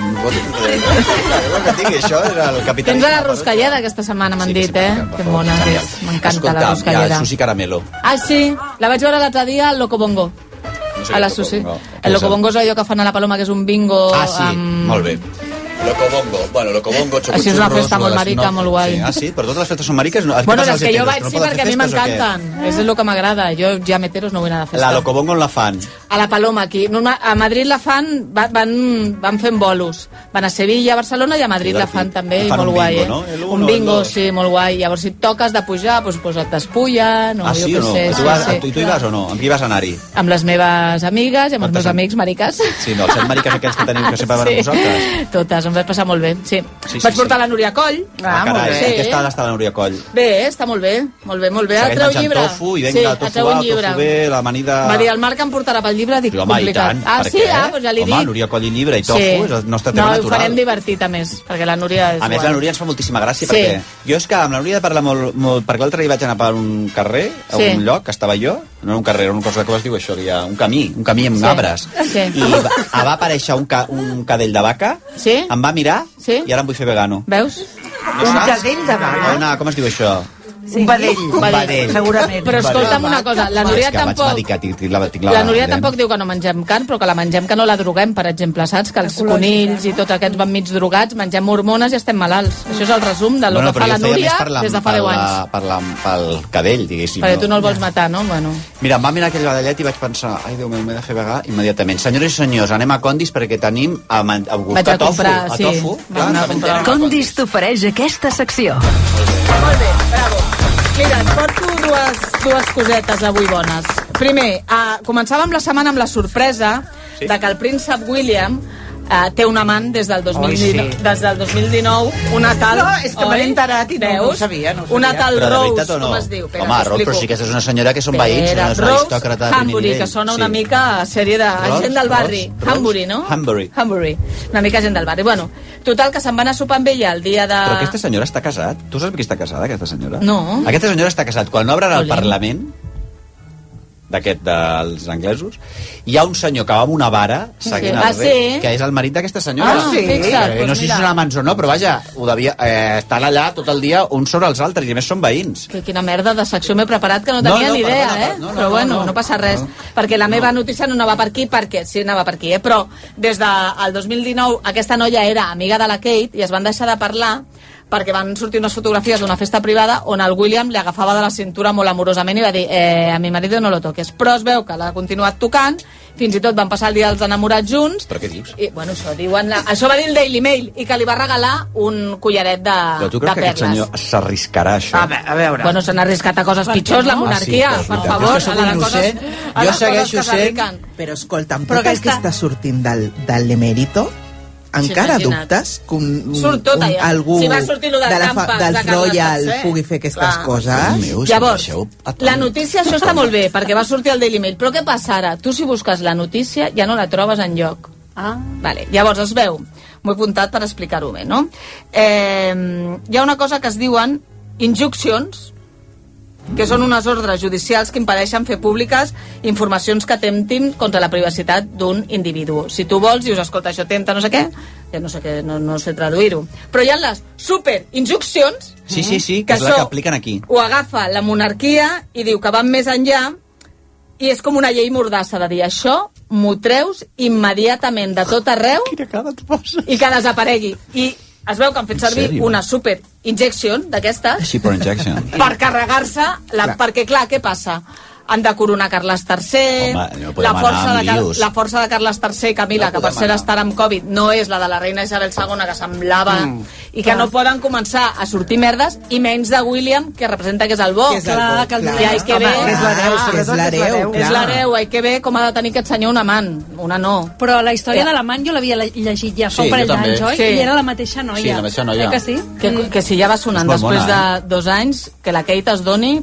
[SPEAKER 11] Que tingui, això és el
[SPEAKER 12] Tens a
[SPEAKER 11] capitalisme.
[SPEAKER 12] la ruscalleda aquesta setmana, m'han dit, eh? Que mona que és. M'encanta la
[SPEAKER 11] Escolta, hi
[SPEAKER 12] ruscalleda.
[SPEAKER 11] ha Susi Caramelo.
[SPEAKER 12] Ah, sí, la vaig veure l'altre dia al Locobongo.
[SPEAKER 11] No sé
[SPEAKER 12] a
[SPEAKER 11] què
[SPEAKER 12] la
[SPEAKER 11] és
[SPEAKER 12] Susi.
[SPEAKER 11] Locobongo.
[SPEAKER 12] El Locobongo és allò que fan a la Paloma, que és un bingo...
[SPEAKER 11] Ah, sí,
[SPEAKER 12] amb-
[SPEAKER 11] molt bé. Locobongo, bueno, Locobongo, xocoxurros...
[SPEAKER 12] Mm. Això és una festa molt
[SPEAKER 11] rodes,
[SPEAKER 12] marica, molt guai.
[SPEAKER 11] Sí, ah, sí? Però totes les festes són mariques? No,
[SPEAKER 12] Bueno, les que jo vaig, sí, perquè a mi m'encanten. És el que m'agrada. Jo ja meteros no vull anar de festa.
[SPEAKER 11] La Locobongo on la fan?
[SPEAKER 12] A la Paloma, aquí. Normal, a Madrid la fan, va- van, van fent bolos. Van a Sevilla, a Barcelona i a Madrid la fan també, i
[SPEAKER 11] Fan un
[SPEAKER 12] molt guai,
[SPEAKER 11] bingo,
[SPEAKER 12] eh?
[SPEAKER 11] no? El uno,
[SPEAKER 12] Un
[SPEAKER 11] el
[SPEAKER 12] bingo,
[SPEAKER 11] dos.
[SPEAKER 12] sí, molt guai. Llavors, si et toques de pujar, doncs, doncs et despullen, o
[SPEAKER 11] ah, sí
[SPEAKER 12] jo què
[SPEAKER 11] o no?
[SPEAKER 12] sé.
[SPEAKER 11] tu,
[SPEAKER 12] sí,
[SPEAKER 11] vas,
[SPEAKER 12] sí.
[SPEAKER 11] tu, tu hi vas o no? Amb qui vas anar-hi?
[SPEAKER 12] Amb les meves amigues i amb els meus amics mariques.
[SPEAKER 11] Sí, no, els set mariques aquests que
[SPEAKER 12] [LAUGHS]
[SPEAKER 11] teniu que sempre van amb vosaltres.
[SPEAKER 12] Totes, em vaig passar molt bé, sí.
[SPEAKER 11] Sí, sí,
[SPEAKER 12] vaig portar
[SPEAKER 11] sí.
[SPEAKER 12] la Núria Coll.
[SPEAKER 11] Ah, carai,
[SPEAKER 12] Sí.
[SPEAKER 11] aquesta ha d'estar la Núria Coll.
[SPEAKER 12] Bé, està molt bé, molt bé, molt bé.
[SPEAKER 11] Segueix
[SPEAKER 12] Et treu
[SPEAKER 11] menjant
[SPEAKER 12] llibre.
[SPEAKER 11] tofu i vinga,
[SPEAKER 12] et
[SPEAKER 11] tofu
[SPEAKER 12] treu
[SPEAKER 11] va,
[SPEAKER 12] un llibre.
[SPEAKER 11] tofu bé, l'amanida...
[SPEAKER 12] Va dir, el Marc em portarà pel llibre, dic,
[SPEAKER 11] Sí, home, i
[SPEAKER 12] complicat.
[SPEAKER 11] tant.
[SPEAKER 12] ah,
[SPEAKER 11] per
[SPEAKER 12] sí?
[SPEAKER 11] què?
[SPEAKER 12] Ah, doncs ja li
[SPEAKER 11] Home,
[SPEAKER 12] dic.
[SPEAKER 11] Núria Coll i llibre i tofu és el nostre
[SPEAKER 12] no,
[SPEAKER 11] tema
[SPEAKER 12] ho farem
[SPEAKER 11] natural.
[SPEAKER 12] divertit, a més, perquè la Núria és
[SPEAKER 11] A més,
[SPEAKER 12] guai.
[SPEAKER 11] la Núria ens fa moltíssima gràcia,
[SPEAKER 12] Sí.
[SPEAKER 11] perquè jo és que amb la Núria he de parlar molt... molt perquè l'altre dia vaig anar per un carrer, a
[SPEAKER 12] Sí.
[SPEAKER 11] un lloc, que estava jo, no era un carrer, era un cosa que es diu això, que hi ha un camí, un camí amb
[SPEAKER 12] Sí.
[SPEAKER 11] arbres.
[SPEAKER 12] Sí.
[SPEAKER 11] I va, ah, va aparèixer un, ca, un cadell de vaca,
[SPEAKER 12] Sí?
[SPEAKER 11] em va mirar
[SPEAKER 12] Sí?
[SPEAKER 11] i ara em vull fer vegano.
[SPEAKER 12] Veus?
[SPEAKER 11] No saps?
[SPEAKER 15] de vaca?
[SPEAKER 11] No, no, com es diu això?
[SPEAKER 15] Un vedell.
[SPEAKER 19] Un vedell.
[SPEAKER 15] Segurament.
[SPEAKER 19] Però escolta'm una cosa, la Núria tampoc...
[SPEAKER 20] Vaig, vaig, tinc la, tinc
[SPEAKER 19] La Núria tampoc diu que no mengem carn, però que la mengem que no la droguem, per exemple, saps? Que els conills i tot aquests van mig drogats, mengem hormones i estem malalts. Això és el resum de lo que
[SPEAKER 11] però
[SPEAKER 19] fa
[SPEAKER 11] jo
[SPEAKER 19] la
[SPEAKER 11] feia
[SPEAKER 19] Núria
[SPEAKER 11] més per la-
[SPEAKER 19] des de fa
[SPEAKER 11] per
[SPEAKER 19] 10
[SPEAKER 11] la-
[SPEAKER 19] anys.
[SPEAKER 11] Per la, pel cadell, diguéssim.
[SPEAKER 19] Perquè tu no el vols matar, no? Bueno.
[SPEAKER 11] Mira, em va mirar aquell badallet i vaig pensar, ai, Déu meu, m'he de fer vegar immediatament. Senyores i senyors, anem a Condis perquè tenim a, man- a,
[SPEAKER 3] Vaig
[SPEAKER 11] a,
[SPEAKER 3] a
[SPEAKER 11] a tofu.
[SPEAKER 3] comprar,
[SPEAKER 11] a
[SPEAKER 3] sí.
[SPEAKER 11] tofu.
[SPEAKER 3] Vam anar a comprar. Condis t'ofereix aquesta secció.
[SPEAKER 12] Mira, et porto dues, dues cosetes avui bones. Primer, uh, començàvem la setmana amb la sorpresa sí? de que el príncep William uh, té un amant des del 2019,
[SPEAKER 15] Oi, sí.
[SPEAKER 12] des del 2019 una tal...
[SPEAKER 15] No, és que me
[SPEAKER 12] oi?
[SPEAKER 15] n'he enterat i no, no ho
[SPEAKER 12] Veus?
[SPEAKER 15] sabia, no ho
[SPEAKER 12] Una
[SPEAKER 15] sabia.
[SPEAKER 12] tal
[SPEAKER 11] Però de
[SPEAKER 12] Rose,
[SPEAKER 11] veritat o no?
[SPEAKER 12] com es diu? Espera,
[SPEAKER 11] Home, Rose,
[SPEAKER 12] t'explico.
[SPEAKER 11] però sí que és una senyora que són
[SPEAKER 12] Espera,
[SPEAKER 11] veïns, no és una
[SPEAKER 12] Rose
[SPEAKER 11] aristòcrata de primer
[SPEAKER 12] Hanbury,
[SPEAKER 11] nivell.
[SPEAKER 12] que sona
[SPEAKER 11] Sí.
[SPEAKER 12] una mica a sèrie de
[SPEAKER 11] Rose,
[SPEAKER 12] gent del barri.
[SPEAKER 11] Rose, Rose.
[SPEAKER 12] Hanbury, no?
[SPEAKER 11] Hanbury.
[SPEAKER 12] Hanbury. Una mica gent del barri. Bueno, total, que se'n va anar a sopar amb ella el dia de...
[SPEAKER 11] Però aquesta senyora està casat? Tu saps amb qui està casada, aquesta senyora?
[SPEAKER 12] Ah. No.
[SPEAKER 11] Aquesta senyora està casat. Quan obren el
[SPEAKER 12] Olé.
[SPEAKER 11] Parlament, d'aquest dels anglesos, hi ha un senyor que va amb una vara seguint
[SPEAKER 12] Ah,
[SPEAKER 11] el rei,
[SPEAKER 12] sí?
[SPEAKER 11] que és el marit d'aquesta senyora.
[SPEAKER 12] Ah, sí? Fixa't,
[SPEAKER 11] Eh, no
[SPEAKER 12] doncs
[SPEAKER 11] sé si
[SPEAKER 12] mira.
[SPEAKER 11] són amants o no, però vaja, ho devia, eh, estan allà tot el dia uns sobre els altres, i a més són veïns.
[SPEAKER 19] Que quina merda de secció m'he preparat que no
[SPEAKER 11] No,
[SPEAKER 19] tenia
[SPEAKER 11] no,
[SPEAKER 19] ni idea,
[SPEAKER 11] perdona,
[SPEAKER 19] eh? No, no, però bueno, no, passa res,
[SPEAKER 12] perquè la meva notícia no anava per aquí, perquè sí, anava per aquí, eh? però des del 2019 aquesta noia era amiga de la Kate i es van deixar de parlar perquè van sortir unes fotografies d'una festa privada on el William li agafava de la cintura molt amorosament i va dir, eh, a mi marido no lo toques. Però es veu que l'ha continuat tocant, fins i tot van passar el dia dels enamorats junts,
[SPEAKER 11] Però què dius?
[SPEAKER 12] i bueno, això, diuen la... això va dir el Daily Mail, i que li va regalar un collaret de,
[SPEAKER 11] Però tu
[SPEAKER 12] de
[SPEAKER 11] creus que aquest
[SPEAKER 12] perles.
[SPEAKER 11] senyor s'arriscarà a això?
[SPEAKER 15] A veure.
[SPEAKER 12] Bueno, s'han arriscat a coses pitjors, la monarquia,
[SPEAKER 11] Ah,
[SPEAKER 12] per
[SPEAKER 11] sí, però és veritat.
[SPEAKER 12] favor.
[SPEAKER 11] Jo sóc
[SPEAKER 12] a les
[SPEAKER 11] un
[SPEAKER 12] coses-
[SPEAKER 11] innocent.
[SPEAKER 12] a les
[SPEAKER 11] Jo segueixo
[SPEAKER 12] coses que
[SPEAKER 11] sent-
[SPEAKER 12] s'arriquen.
[SPEAKER 13] Però escolta'm,
[SPEAKER 12] Però
[SPEAKER 13] però tot el que
[SPEAKER 12] aquesta-
[SPEAKER 13] està sortint del, del emèrito, encara
[SPEAKER 12] Sí, imagina't.
[SPEAKER 13] dubtes que un, un,
[SPEAKER 12] Surt tot allà.
[SPEAKER 13] algú
[SPEAKER 12] Si va sortir lo del
[SPEAKER 13] de la
[SPEAKER 12] Campa, de
[SPEAKER 13] dels
[SPEAKER 12] Carles
[SPEAKER 13] Royal
[SPEAKER 12] Tercer.
[SPEAKER 13] pugui fer aquestes
[SPEAKER 12] Clar.
[SPEAKER 13] coses...
[SPEAKER 12] Déu meu, si Llavors, em La notícia, això està molt bé, perquè va sortir al Daily Mail. Però què passa ara? Tu si busques la notícia ja no la trobes en lloc.
[SPEAKER 3] Ah.
[SPEAKER 12] Vale. Llavors es veu, m'ho he apuntat per explicar-ho bé, no? Eh, hi ha una cosa que es diuen injuncions, que són unes ordres judicials que impedeixen fer públiques informacions que temptin contra la privacitat d'un individu. Si tu vols, dius, escolta, això tempta no sé què, ja no sé què, no, no sé traduir-ho. Però hi ha les superinjuncions,
[SPEAKER 11] Sí, sí, sí, que és la
[SPEAKER 12] això
[SPEAKER 11] que apliquen aquí.
[SPEAKER 12] ho agafa la monarquia i diu que van més enllà i és com una llei mordassa de dir això m'ho treus immediatament de tot arreu i que desaparegui i es veu que han fet
[SPEAKER 11] En
[SPEAKER 12] servir
[SPEAKER 11] sèrio?
[SPEAKER 12] una super injection d'aquestes
[SPEAKER 11] Super
[SPEAKER 12] [LAUGHS]
[SPEAKER 11] injection.
[SPEAKER 12] per carregar-se la,
[SPEAKER 11] Clar.
[SPEAKER 12] perquè clar, què passa? han de coronar Carles III
[SPEAKER 11] Home, no podem
[SPEAKER 12] la, força
[SPEAKER 11] anar
[SPEAKER 12] de,
[SPEAKER 11] amb
[SPEAKER 12] Car-
[SPEAKER 11] lius.
[SPEAKER 12] la força de Carles III Camila,
[SPEAKER 11] No
[SPEAKER 12] que per
[SPEAKER 11] podem
[SPEAKER 12] cert
[SPEAKER 11] anar.
[SPEAKER 12] estarà amb Covid no és la de la reina Isabel II que semblava
[SPEAKER 11] Mm.
[SPEAKER 12] i que
[SPEAKER 11] Clar.
[SPEAKER 12] no poden començar a sortir merdes i menys de William que representa que és el bo
[SPEAKER 15] Que és el bo,
[SPEAKER 12] que el
[SPEAKER 15] clar.
[SPEAKER 12] i ai que
[SPEAKER 15] Home,
[SPEAKER 12] bé
[SPEAKER 15] que és l'hereu,
[SPEAKER 12] Ah,
[SPEAKER 15] sobretot que és l'hereu,
[SPEAKER 12] és
[SPEAKER 15] clar.
[SPEAKER 12] l'hereu, ai que bé com ha de tenir aquest senyor un amant una no
[SPEAKER 3] Però la història de l'amant jo l'havia le- llegit ja fa
[SPEAKER 12] Sí,
[SPEAKER 3] un parell
[SPEAKER 12] jo també.
[SPEAKER 3] d'anys, oi?
[SPEAKER 12] Sí.
[SPEAKER 3] I era la mateixa noia.
[SPEAKER 12] Sí, la mateixa noia.
[SPEAKER 3] Eh que sí?
[SPEAKER 12] que,
[SPEAKER 15] Mm.
[SPEAKER 12] que si ja va sonant
[SPEAKER 11] És molt
[SPEAKER 12] després
[SPEAKER 11] bona, eh?
[SPEAKER 12] de dos anys que la Kate es doni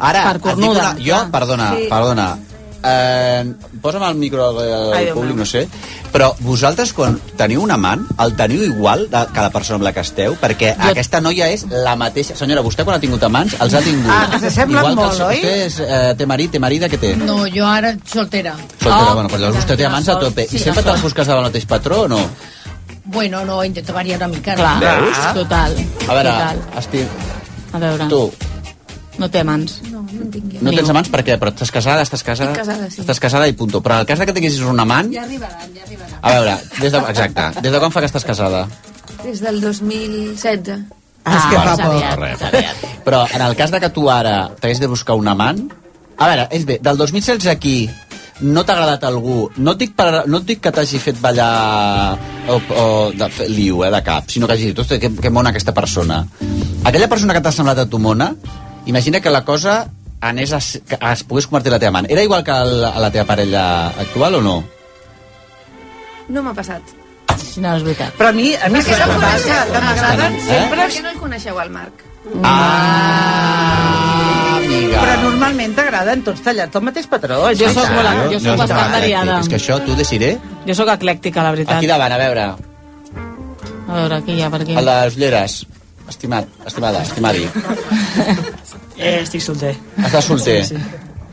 [SPEAKER 11] Ara,
[SPEAKER 12] Per
[SPEAKER 11] et dic
[SPEAKER 12] cornuda,
[SPEAKER 11] Una, jo,
[SPEAKER 12] clar.
[SPEAKER 11] perdona,
[SPEAKER 12] Sí.
[SPEAKER 11] sí. perdona. Eh, posa'm el micro al
[SPEAKER 12] Ai,
[SPEAKER 11] al
[SPEAKER 12] Déu
[SPEAKER 11] públic, no sé. Però vosaltres, quan teniu un amant, el teniu igual de cada persona amb la que esteu? Perquè jo... aquesta noia és la mateixa... Senyora, vostè quan ha tingut amants, els ha tingut.
[SPEAKER 21] Ah, se semblen
[SPEAKER 11] igual
[SPEAKER 21] molt,
[SPEAKER 11] que
[SPEAKER 21] oi?
[SPEAKER 11] Vostè és, eh, té marit, té marida, què té?
[SPEAKER 21] No, jo ara soltera.
[SPEAKER 3] Oh,
[SPEAKER 11] Soltera, Oh. bueno, però llavors vostè té
[SPEAKER 21] quina
[SPEAKER 11] amants a
[SPEAKER 21] sort.
[SPEAKER 11] tope.
[SPEAKER 21] Sí,
[SPEAKER 11] I sempre
[SPEAKER 21] quina
[SPEAKER 11] te'ls busques del mateix patró o no?
[SPEAKER 21] Bueno, no, intento variar una mica.
[SPEAKER 12] Clar, Ah.
[SPEAKER 11] Veus?
[SPEAKER 12] total.
[SPEAKER 11] A veure,
[SPEAKER 12] total.
[SPEAKER 11] Estic...
[SPEAKER 12] A veure.
[SPEAKER 11] Tu,
[SPEAKER 12] No té mans.
[SPEAKER 21] No, no tinc
[SPEAKER 11] no tens amants per què? Però estàs casada, estàs casada...
[SPEAKER 21] Estic casada, sí.
[SPEAKER 11] Estàs casada i punto. Però en el cas de que tinguessis un amant,
[SPEAKER 21] Ja arribaran, ja arribaran.
[SPEAKER 11] A veure, des de, exacte, des de quan fa que estàs casada?
[SPEAKER 21] Des del 2016.
[SPEAKER 11] Ah,
[SPEAKER 21] és que fa poc.
[SPEAKER 11] Res, aviat. Però en el cas de que tu ara t'hagués de buscar un amant... A veure, és bé, del 2016 aquí no t'ha agradat algú, no et dic, per, no et dic que t'hagi fet ballar o, o de, fer liu, eh, de cap, sinó que hagi dit, ostres, que, que mona aquesta persona. Aquella persona que t'ha semblat a tu mona, imagina que la cosa anés a, s- que es pogués convertir en la teva amant. Era igual que la, la teva parella actual o no?
[SPEAKER 21] No m'ha passat.
[SPEAKER 12] No, és veritat.
[SPEAKER 15] Però a mi, a mi
[SPEAKER 21] Perquè
[SPEAKER 15] saps
[SPEAKER 21] no
[SPEAKER 15] què
[SPEAKER 21] el
[SPEAKER 15] passa?
[SPEAKER 21] coneixeu.
[SPEAKER 15] Que m'agraden
[SPEAKER 11] Eh?
[SPEAKER 15] sempre...
[SPEAKER 21] Perquè no el coneixeu, el Marc.
[SPEAKER 11] Amiga.
[SPEAKER 15] Però normalment t'agraden tots tallats del mateix patró.
[SPEAKER 12] Jo sóc
[SPEAKER 11] Exacte.
[SPEAKER 12] molt- jo sóc
[SPEAKER 11] és
[SPEAKER 12] bastant
[SPEAKER 11] eclèctic,
[SPEAKER 12] variada.
[SPEAKER 11] És que això t'ho decidiré.
[SPEAKER 12] Jo sóc eclèctica, la veritat.
[SPEAKER 11] Aquí davant, a veure.
[SPEAKER 12] A veure, aquí hi ha, per aquí.
[SPEAKER 11] El de les ulleres. Estimat, estimada, estimadi.
[SPEAKER 9] Eh, estic solter.
[SPEAKER 11] Estàs solter.
[SPEAKER 9] Sí, sí.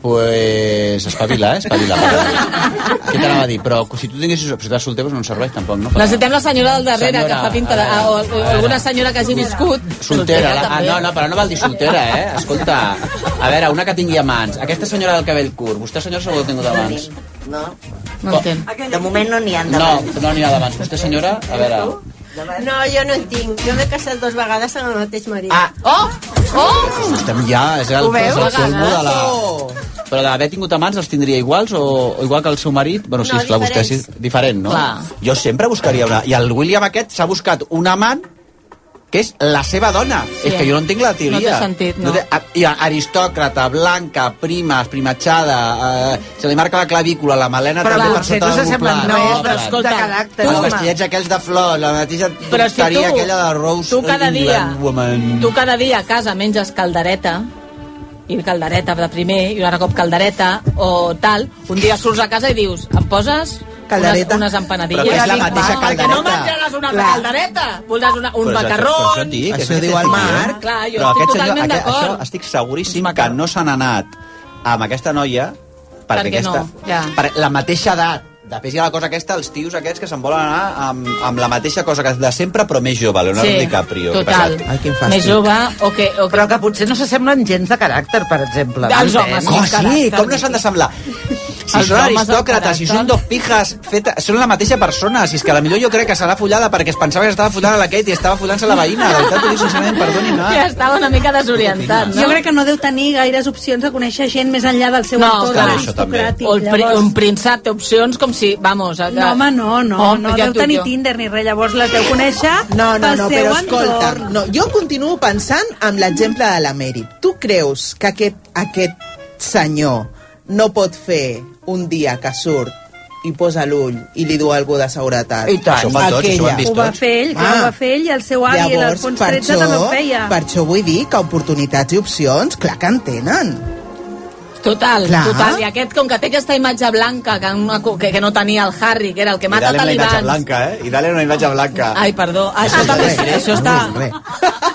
[SPEAKER 11] pues espavila, eh? espavila. Però... Què t'anava a dir? Però si tu tinguessis... Si estàs solter, doncs no serveix tampoc, no?
[SPEAKER 12] Necessitem la senyora del darrere,
[SPEAKER 11] Senyora,
[SPEAKER 12] que fa pinta de... ah, O, o, o alguna senyora que hagi viscut.
[SPEAKER 11] Soltera, la, ah,
[SPEAKER 12] també.
[SPEAKER 11] no, no, però no val dir soltera, eh? Escolta, a veure, una que tingui amants. Aquesta senyora del cabell curt, vostè senyora segur que ho ha tingut abans.
[SPEAKER 3] No,
[SPEAKER 11] No
[SPEAKER 3] de moment no n'hi ha
[SPEAKER 11] No,
[SPEAKER 3] d'abans.
[SPEAKER 11] no n'hi ha d'abans. Vostè senyora, a veure...
[SPEAKER 3] No, jo no en tinc. Jo m'he casat dues vegades amb el mateix marit.
[SPEAKER 11] Ah.
[SPEAKER 3] Oh! Oh!
[SPEAKER 11] Estem ja, és el,
[SPEAKER 3] Ho veus?
[SPEAKER 11] és el colmo de la...
[SPEAKER 3] Oh.
[SPEAKER 11] Però d'haver tingut amants els tindria iguals o, o igual que el seu marit? Bueno, sí,
[SPEAKER 3] No,
[SPEAKER 11] esclar, vostè sí,
[SPEAKER 3] diferents.
[SPEAKER 11] diferent, no?
[SPEAKER 3] Clar.
[SPEAKER 11] Jo sempre buscaria una... I el William aquest s'ha buscat un amant que és la seva dona.
[SPEAKER 12] Sí.
[SPEAKER 11] Sí. És que jo no entenc la teoria.
[SPEAKER 12] No té sentit, no.
[SPEAKER 11] té- a- I aristòcrata, blanca, prima, primatxada, eh, se li marca la clavícula, la melena
[SPEAKER 15] Però
[SPEAKER 11] també per
[SPEAKER 15] potser
[SPEAKER 11] sota
[SPEAKER 15] no
[SPEAKER 11] del
[SPEAKER 15] s'assemblen
[SPEAKER 11] doblat.
[SPEAKER 15] res, però
[SPEAKER 11] clar.
[SPEAKER 15] escolta, de caràcter,
[SPEAKER 11] Els
[SPEAKER 15] home.
[SPEAKER 11] vestillets aquells de flor, la mateixa
[SPEAKER 12] Però si
[SPEAKER 11] tonteria
[SPEAKER 12] tu-
[SPEAKER 11] aquella de Rose
[SPEAKER 12] tu cada
[SPEAKER 11] England
[SPEAKER 12] dia-
[SPEAKER 11] Woman.
[SPEAKER 12] Tu cada dia a casa menges caldereta, i caldereta de primer, i un altre cop caldereta, o tal, un dia surts a casa i dius, em poses
[SPEAKER 13] Caldereta.
[SPEAKER 12] unes, unes empanadilles.
[SPEAKER 13] Però que és la
[SPEAKER 12] Dic,
[SPEAKER 13] mateixa
[SPEAKER 12] "Va, perquè
[SPEAKER 13] caldereta."
[SPEAKER 12] No menjaràs una altra
[SPEAKER 13] Clar.
[SPEAKER 12] caldereta, voldràs una, un
[SPEAKER 11] Però és això-
[SPEAKER 12] macarró...
[SPEAKER 11] però això dic, és
[SPEAKER 13] Això
[SPEAKER 11] que
[SPEAKER 13] diu el
[SPEAKER 11] estic
[SPEAKER 13] Marc.
[SPEAKER 11] dient.
[SPEAKER 12] Clar, Ah, jo estic
[SPEAKER 11] Però aquest senyor-
[SPEAKER 12] totalment
[SPEAKER 11] aquest-
[SPEAKER 12] d'acord. Doncs
[SPEAKER 11] Això estic seguríssim que no se n'ha anat amb aquesta noia perquè,
[SPEAKER 12] Perquè no,
[SPEAKER 11] aquesta,
[SPEAKER 12] [LAUGHS] ja.
[SPEAKER 11] per la mateixa edat. Després hi ha la cosa aquesta, els tios aquests que se'n volen anar amb, amb la mateixa cosa que de sempre, però més jove, Leonardo
[SPEAKER 12] Sí,
[SPEAKER 11] DiCaprio. que
[SPEAKER 12] total.
[SPEAKER 11] passat.
[SPEAKER 12] Ai, quin fàstic. Més jove o que... O
[SPEAKER 15] Però que potser no s'assemblen gens de caràcter, per exemple.
[SPEAKER 11] Els homes,
[SPEAKER 15] Com
[SPEAKER 11] com Oh, sí, com no s'han de semblar? Si
[SPEAKER 15] Els
[SPEAKER 11] són
[SPEAKER 15] homes, el
[SPEAKER 11] aristòcrates, si
[SPEAKER 15] caràcter.
[SPEAKER 11] són dos pijas, feta, són la mateixa persona. Si és que a la millor jo crec que serà follada perquè es pensava que estava follant a la Kate i estava follant-se la veïna. De veritat, ho dic sincerament, perdoni, no.
[SPEAKER 12] Ja estava una mica desorientat, no?
[SPEAKER 22] Ah. Jo crec que no deu tenir gaires opcions de conèixer gent més enllà del seu
[SPEAKER 12] No,
[SPEAKER 22] entorn
[SPEAKER 12] clar, això
[SPEAKER 11] també.
[SPEAKER 22] aristocràtic.
[SPEAKER 12] O el pri,
[SPEAKER 22] Llavors,
[SPEAKER 12] un príncep té opcions com si, vamos... A,
[SPEAKER 22] No, home, no, no,
[SPEAKER 12] Home,
[SPEAKER 22] no
[SPEAKER 12] ja
[SPEAKER 22] deu
[SPEAKER 12] t'ho
[SPEAKER 22] tenir
[SPEAKER 12] dic jo.
[SPEAKER 22] Tinder ni res, llavors la deu conèixer
[SPEAKER 13] No, no,
[SPEAKER 22] pel
[SPEAKER 13] no,
[SPEAKER 22] seu
[SPEAKER 13] però escolta,
[SPEAKER 22] entorn.
[SPEAKER 13] no, jo continuo pensant amb l'exemple de la Mary. Tu creus que aquest, aquest senyor no pot fer un dia que surt i posa l'ull i li du algú de seguretat?
[SPEAKER 15] I tant. Això ho fan tots, això ho han vist
[SPEAKER 22] Ho va fer ell, clar, ho va fer ell i el seu avi,
[SPEAKER 13] Llavors,
[SPEAKER 22] l'Alfons
[SPEAKER 13] per
[SPEAKER 22] XIII, també ho feia.
[SPEAKER 13] Per això vull dir que oportunitats i opcions, clar que en tenen.
[SPEAKER 12] Total,
[SPEAKER 13] Clar.
[SPEAKER 12] total. I aquest, com que té aquesta imatge blanca que, una, co- que, que no tenia el Harry, que era el que [LAUGHS] mata talibans...
[SPEAKER 11] blanca, eh? I dale una imatge blanca.
[SPEAKER 12] Ai, perdó. Ah, Això, també, això està...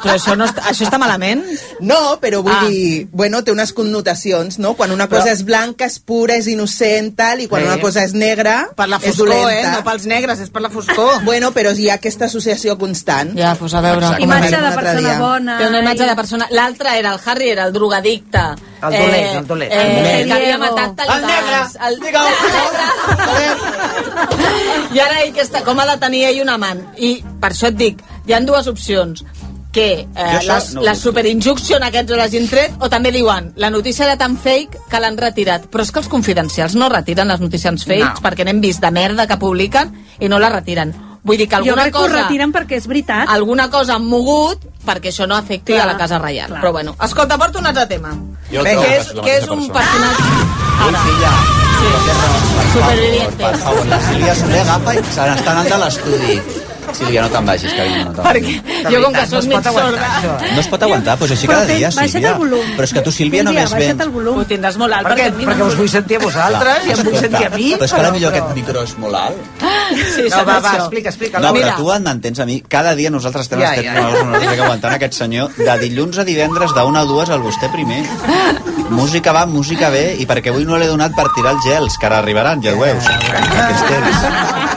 [SPEAKER 12] Però això, no està, això està malament?
[SPEAKER 13] No, però vull
[SPEAKER 12] Ah.
[SPEAKER 13] ah. dir, bueno, té unes connotacions, no? Quan una cosa
[SPEAKER 12] Però-
[SPEAKER 13] però... és blanca, és pura, és innocent, tal, i quan
[SPEAKER 12] Sí.
[SPEAKER 13] sí. una cosa és negra,
[SPEAKER 17] Per la
[SPEAKER 13] és
[SPEAKER 17] foscor,
[SPEAKER 13] dolenta.
[SPEAKER 17] eh? No pels negres, és per la foscor.
[SPEAKER 13] Bueno, però hi ha aquesta associació constant.
[SPEAKER 12] Ja, pues a veure.
[SPEAKER 13] Exacte. Com
[SPEAKER 22] Imatge de
[SPEAKER 13] un altre
[SPEAKER 22] persona
[SPEAKER 13] dia.
[SPEAKER 22] bona.
[SPEAKER 12] Té una imatge de persona... L'altre era el Harry, era el drogadicte.
[SPEAKER 15] El dolent, el dolent.
[SPEAKER 12] Eh,
[SPEAKER 15] El dolent.
[SPEAKER 12] Que havia
[SPEAKER 22] Diego.
[SPEAKER 12] matat talibans.
[SPEAKER 11] El negre.
[SPEAKER 12] El, [LAUGHS] I ara ell que està... Com ha de tenir ell un amant? I per això et dic, hi han dues opcions que eh,
[SPEAKER 11] això
[SPEAKER 12] les,
[SPEAKER 11] no ho
[SPEAKER 12] la
[SPEAKER 11] dubto.
[SPEAKER 12] superinjunction aquests les han tret o també diuen, la notícia era tan fake que l'han retirat, però és que els confidencials no retiren les notícies fakes
[SPEAKER 17] No.
[SPEAKER 12] perquè n'hem vist de merda que publiquen i no la retiren vull dir que
[SPEAKER 22] Jo
[SPEAKER 12] alguna
[SPEAKER 22] crec que ho
[SPEAKER 12] cosa
[SPEAKER 22] retiren perquè és veritat.
[SPEAKER 12] alguna cosa han mogut perquè això no afecti
[SPEAKER 22] Clar,
[SPEAKER 12] a la Casa Reial.
[SPEAKER 22] clar.
[SPEAKER 12] Però bueno, escolta, porto un altre tema.
[SPEAKER 11] Jo
[SPEAKER 12] que,
[SPEAKER 11] trobo que
[SPEAKER 12] és,
[SPEAKER 11] és la
[SPEAKER 12] que és
[SPEAKER 11] mateixa
[SPEAKER 12] un
[SPEAKER 11] persona.
[SPEAKER 12] personatge... Ara, superviviente.
[SPEAKER 11] Per favor, la Sílvia Soler agafa i se n'està anant de l'estudi. Sílvia, no te'n vagis, carinyo, no te'n
[SPEAKER 12] Perquè
[SPEAKER 11] vagis.
[SPEAKER 12] jo com que soc mig sorda...
[SPEAKER 15] eh?
[SPEAKER 11] No es pot aguantar, doncs així
[SPEAKER 22] Però
[SPEAKER 11] cada
[SPEAKER 22] té-
[SPEAKER 11] dia,
[SPEAKER 22] baixa't
[SPEAKER 11] Sílvia.
[SPEAKER 22] el volum.
[SPEAKER 11] Però és que tu, Sílvia,
[SPEAKER 22] Sílvia,
[SPEAKER 11] només
[SPEAKER 22] baixa't
[SPEAKER 11] vens...
[SPEAKER 22] el volum.
[SPEAKER 12] Ho tindràs molt alt,
[SPEAKER 15] Perquè,
[SPEAKER 12] perquè,
[SPEAKER 15] perquè us vull sentir a vosaltres i em vull sentir a mi.
[SPEAKER 11] Però és que ara millor
[SPEAKER 15] però-
[SPEAKER 11] aquest micro és molt alt.
[SPEAKER 12] Sí,
[SPEAKER 15] No, va, va,
[SPEAKER 12] això.
[SPEAKER 15] explica, explica.
[SPEAKER 11] No, però
[SPEAKER 12] Mira.
[SPEAKER 11] tu en m'entens a mi. Cada dia nosaltres estem,
[SPEAKER 15] Ja,
[SPEAKER 11] ja, estem
[SPEAKER 15] ja.
[SPEAKER 11] ja, ja. aguantant aquest senyor de dilluns a divendres, d'una a dues, al vostè primer. Música va, música ve, i perquè avui no l'he donat per tirar els gels, que ara arribaran, ja ho veus. Aquests temps.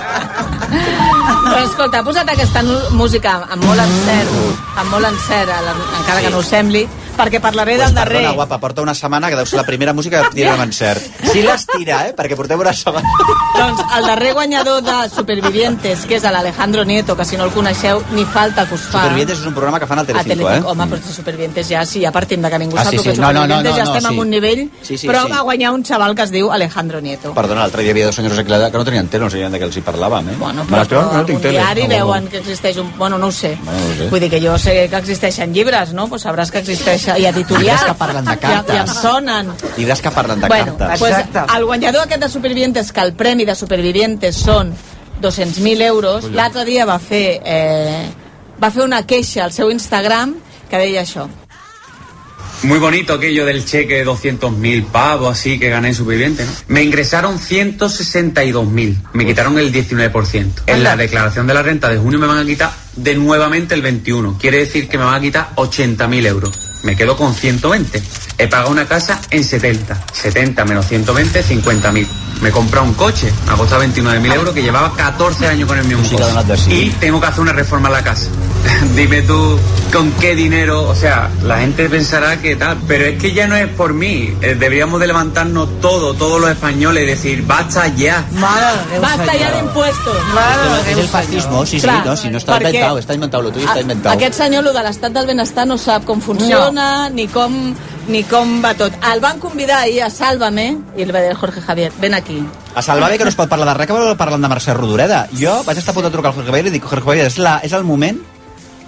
[SPEAKER 12] Però escolta, ha posat aquesta nu- música amb molt encert, amb molt encert, a la- encara que no ho sembli, perquè parlaré
[SPEAKER 11] Pues
[SPEAKER 12] del darrer.
[SPEAKER 11] Doncs perdona, guapa, porta una setmana que deu ser la primera música que tira amb encert. Si l'estira, eh? Perquè portem una setmana.
[SPEAKER 12] Doncs el darrer guanyador de Supervivientes, que és l'Alejandro Nieto, que si no el coneixeu, ni falta que us fa.
[SPEAKER 11] Supervivientes és un programa que fan al
[SPEAKER 12] a
[SPEAKER 11] Telecinco, eh?
[SPEAKER 12] Telecinco. Ah, Home, però si Supervivientes ja, sí, ja partim de que ningú
[SPEAKER 11] Ah,
[SPEAKER 12] sap
[SPEAKER 11] sí,
[SPEAKER 12] el que
[SPEAKER 11] sí.
[SPEAKER 12] és
[SPEAKER 11] No, no, no,
[SPEAKER 12] Supervivientes, ja
[SPEAKER 11] no, no,
[SPEAKER 12] estem
[SPEAKER 11] sí.
[SPEAKER 12] en un nivell,
[SPEAKER 11] Sí, sí,
[SPEAKER 12] però
[SPEAKER 11] sí.
[SPEAKER 12] va guanyar un xaval que es diu Alejandro Nieto.
[SPEAKER 11] Perdona, l'altre dia hi havia dos senyors aquí que no tenien tele, no sabien de què els hi parlàvem, eh? Bueno, però,
[SPEAKER 12] algun diari veuen que existeix un... Bueno, no ho sé.
[SPEAKER 11] Bueno, no ho sé.
[SPEAKER 12] Vull dir que jo sé que existeixen llibres, no? Pues sabràs que existeix... I
[SPEAKER 11] Llibres
[SPEAKER 12] editorials.
[SPEAKER 11] que parlen
[SPEAKER 12] I,
[SPEAKER 11] de
[SPEAKER 12] i em
[SPEAKER 11] cartes.
[SPEAKER 12] sonen.
[SPEAKER 11] Llibres que parlen de
[SPEAKER 12] bueno,
[SPEAKER 11] cartes.
[SPEAKER 12] pues, el guanyador aquest de Supervivientes, que el premi de Supervivientes són 200.000 euros, l'altre dia va fer, eh, va fer una queixa al seu Instagram que deia això.
[SPEAKER 23] Muy bonito aquello del cheque de 200.000 pavos, así que gané en superviviente, ¿no? Me ingresaron 162.000,
[SPEAKER 3] Pues.
[SPEAKER 23] me quitaron el 19%. En la declaración de la renta de junio me van a quitar de nuevamente el 21, quiere decir que me van a quitar 80.000 euros. me quedo con 120. He pagado una casa en 70. 70 menos 120, 50.000. Me he comprado un coche, me ha costado
[SPEAKER 3] Ah.
[SPEAKER 23] 29.000 euros, que llevaba 14 años con el mismo coche. Y tengo que hacer una reforma a la casa. [LAUGHS] Dime tú con qué dinero, o sea, la gente pensará que tal, pero es que ya no es por mí. Eh, deberíamos de levantarnos todos, todos los españoles, y decir, basta ya.
[SPEAKER 12] Basta ja d'impuestos.
[SPEAKER 11] Esto no- es el fascismo, Oh, sí, sí,
[SPEAKER 12] Clar,
[SPEAKER 11] no, si no está
[SPEAKER 12] perquè
[SPEAKER 11] inventado, está inventado, lo tuyo está inventado.
[SPEAKER 12] Aquest senyor, lo de l'estat del benestar, no sap com funciona, ni com ni com va tot. El van convidar ahir a Sálvame i li va dir al Jorge Javier, ven aquí.
[SPEAKER 11] A Salvade, que no es pot parlar de res, que va parlant de Mercè Rodoreda. Jo vaig estar a punt de trucar al Jorge Javier i dic, Jorge Javier, és, la, és el moment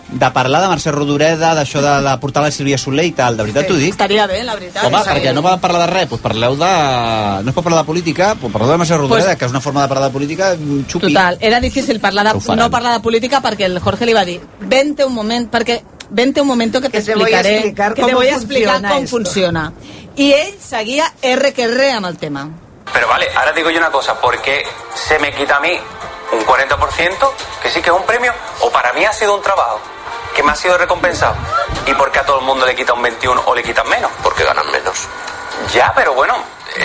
[SPEAKER 11] de parlar de Mercè Rodoreda, d'això de, de portar la Sílvia Soler i tal, de veritat t'ho dic.
[SPEAKER 12] Estaria bé, la veritat.
[SPEAKER 11] Home,
[SPEAKER 12] Sí.
[SPEAKER 11] perquè no podem parlar de res, doncs parleu de... No es pot parlar de política, doncs parleu de Mercè Rodoreda,
[SPEAKER 12] Pues-
[SPEAKER 11] que és una forma de parlar de política mm, xupi.
[SPEAKER 12] Total, era difícil parlar
[SPEAKER 11] Ho
[SPEAKER 12] de,
[SPEAKER 11] faran.
[SPEAKER 12] no parlar de política perquè el Jorge li va dir vente un moment, perquè vente un momento que te
[SPEAKER 15] te voy a
[SPEAKER 12] explicaré
[SPEAKER 15] explicar
[SPEAKER 12] que te
[SPEAKER 15] cómo
[SPEAKER 12] voy a explicar
[SPEAKER 15] funciona
[SPEAKER 12] com
[SPEAKER 15] esto.
[SPEAKER 12] funciona. I ell seguia R que R amb el tema.
[SPEAKER 24] Pero vale, ahora digo yo una cosa, ¿por qué se me quita a mí un 40%, que sí que es un premio, o para mí ha sido un trabajo, que me ha sido recompensado? ¿Y por qué a todo el mundo le quita un 21 o le quitan menos? Porque ganan menos. Ya, pero bueno,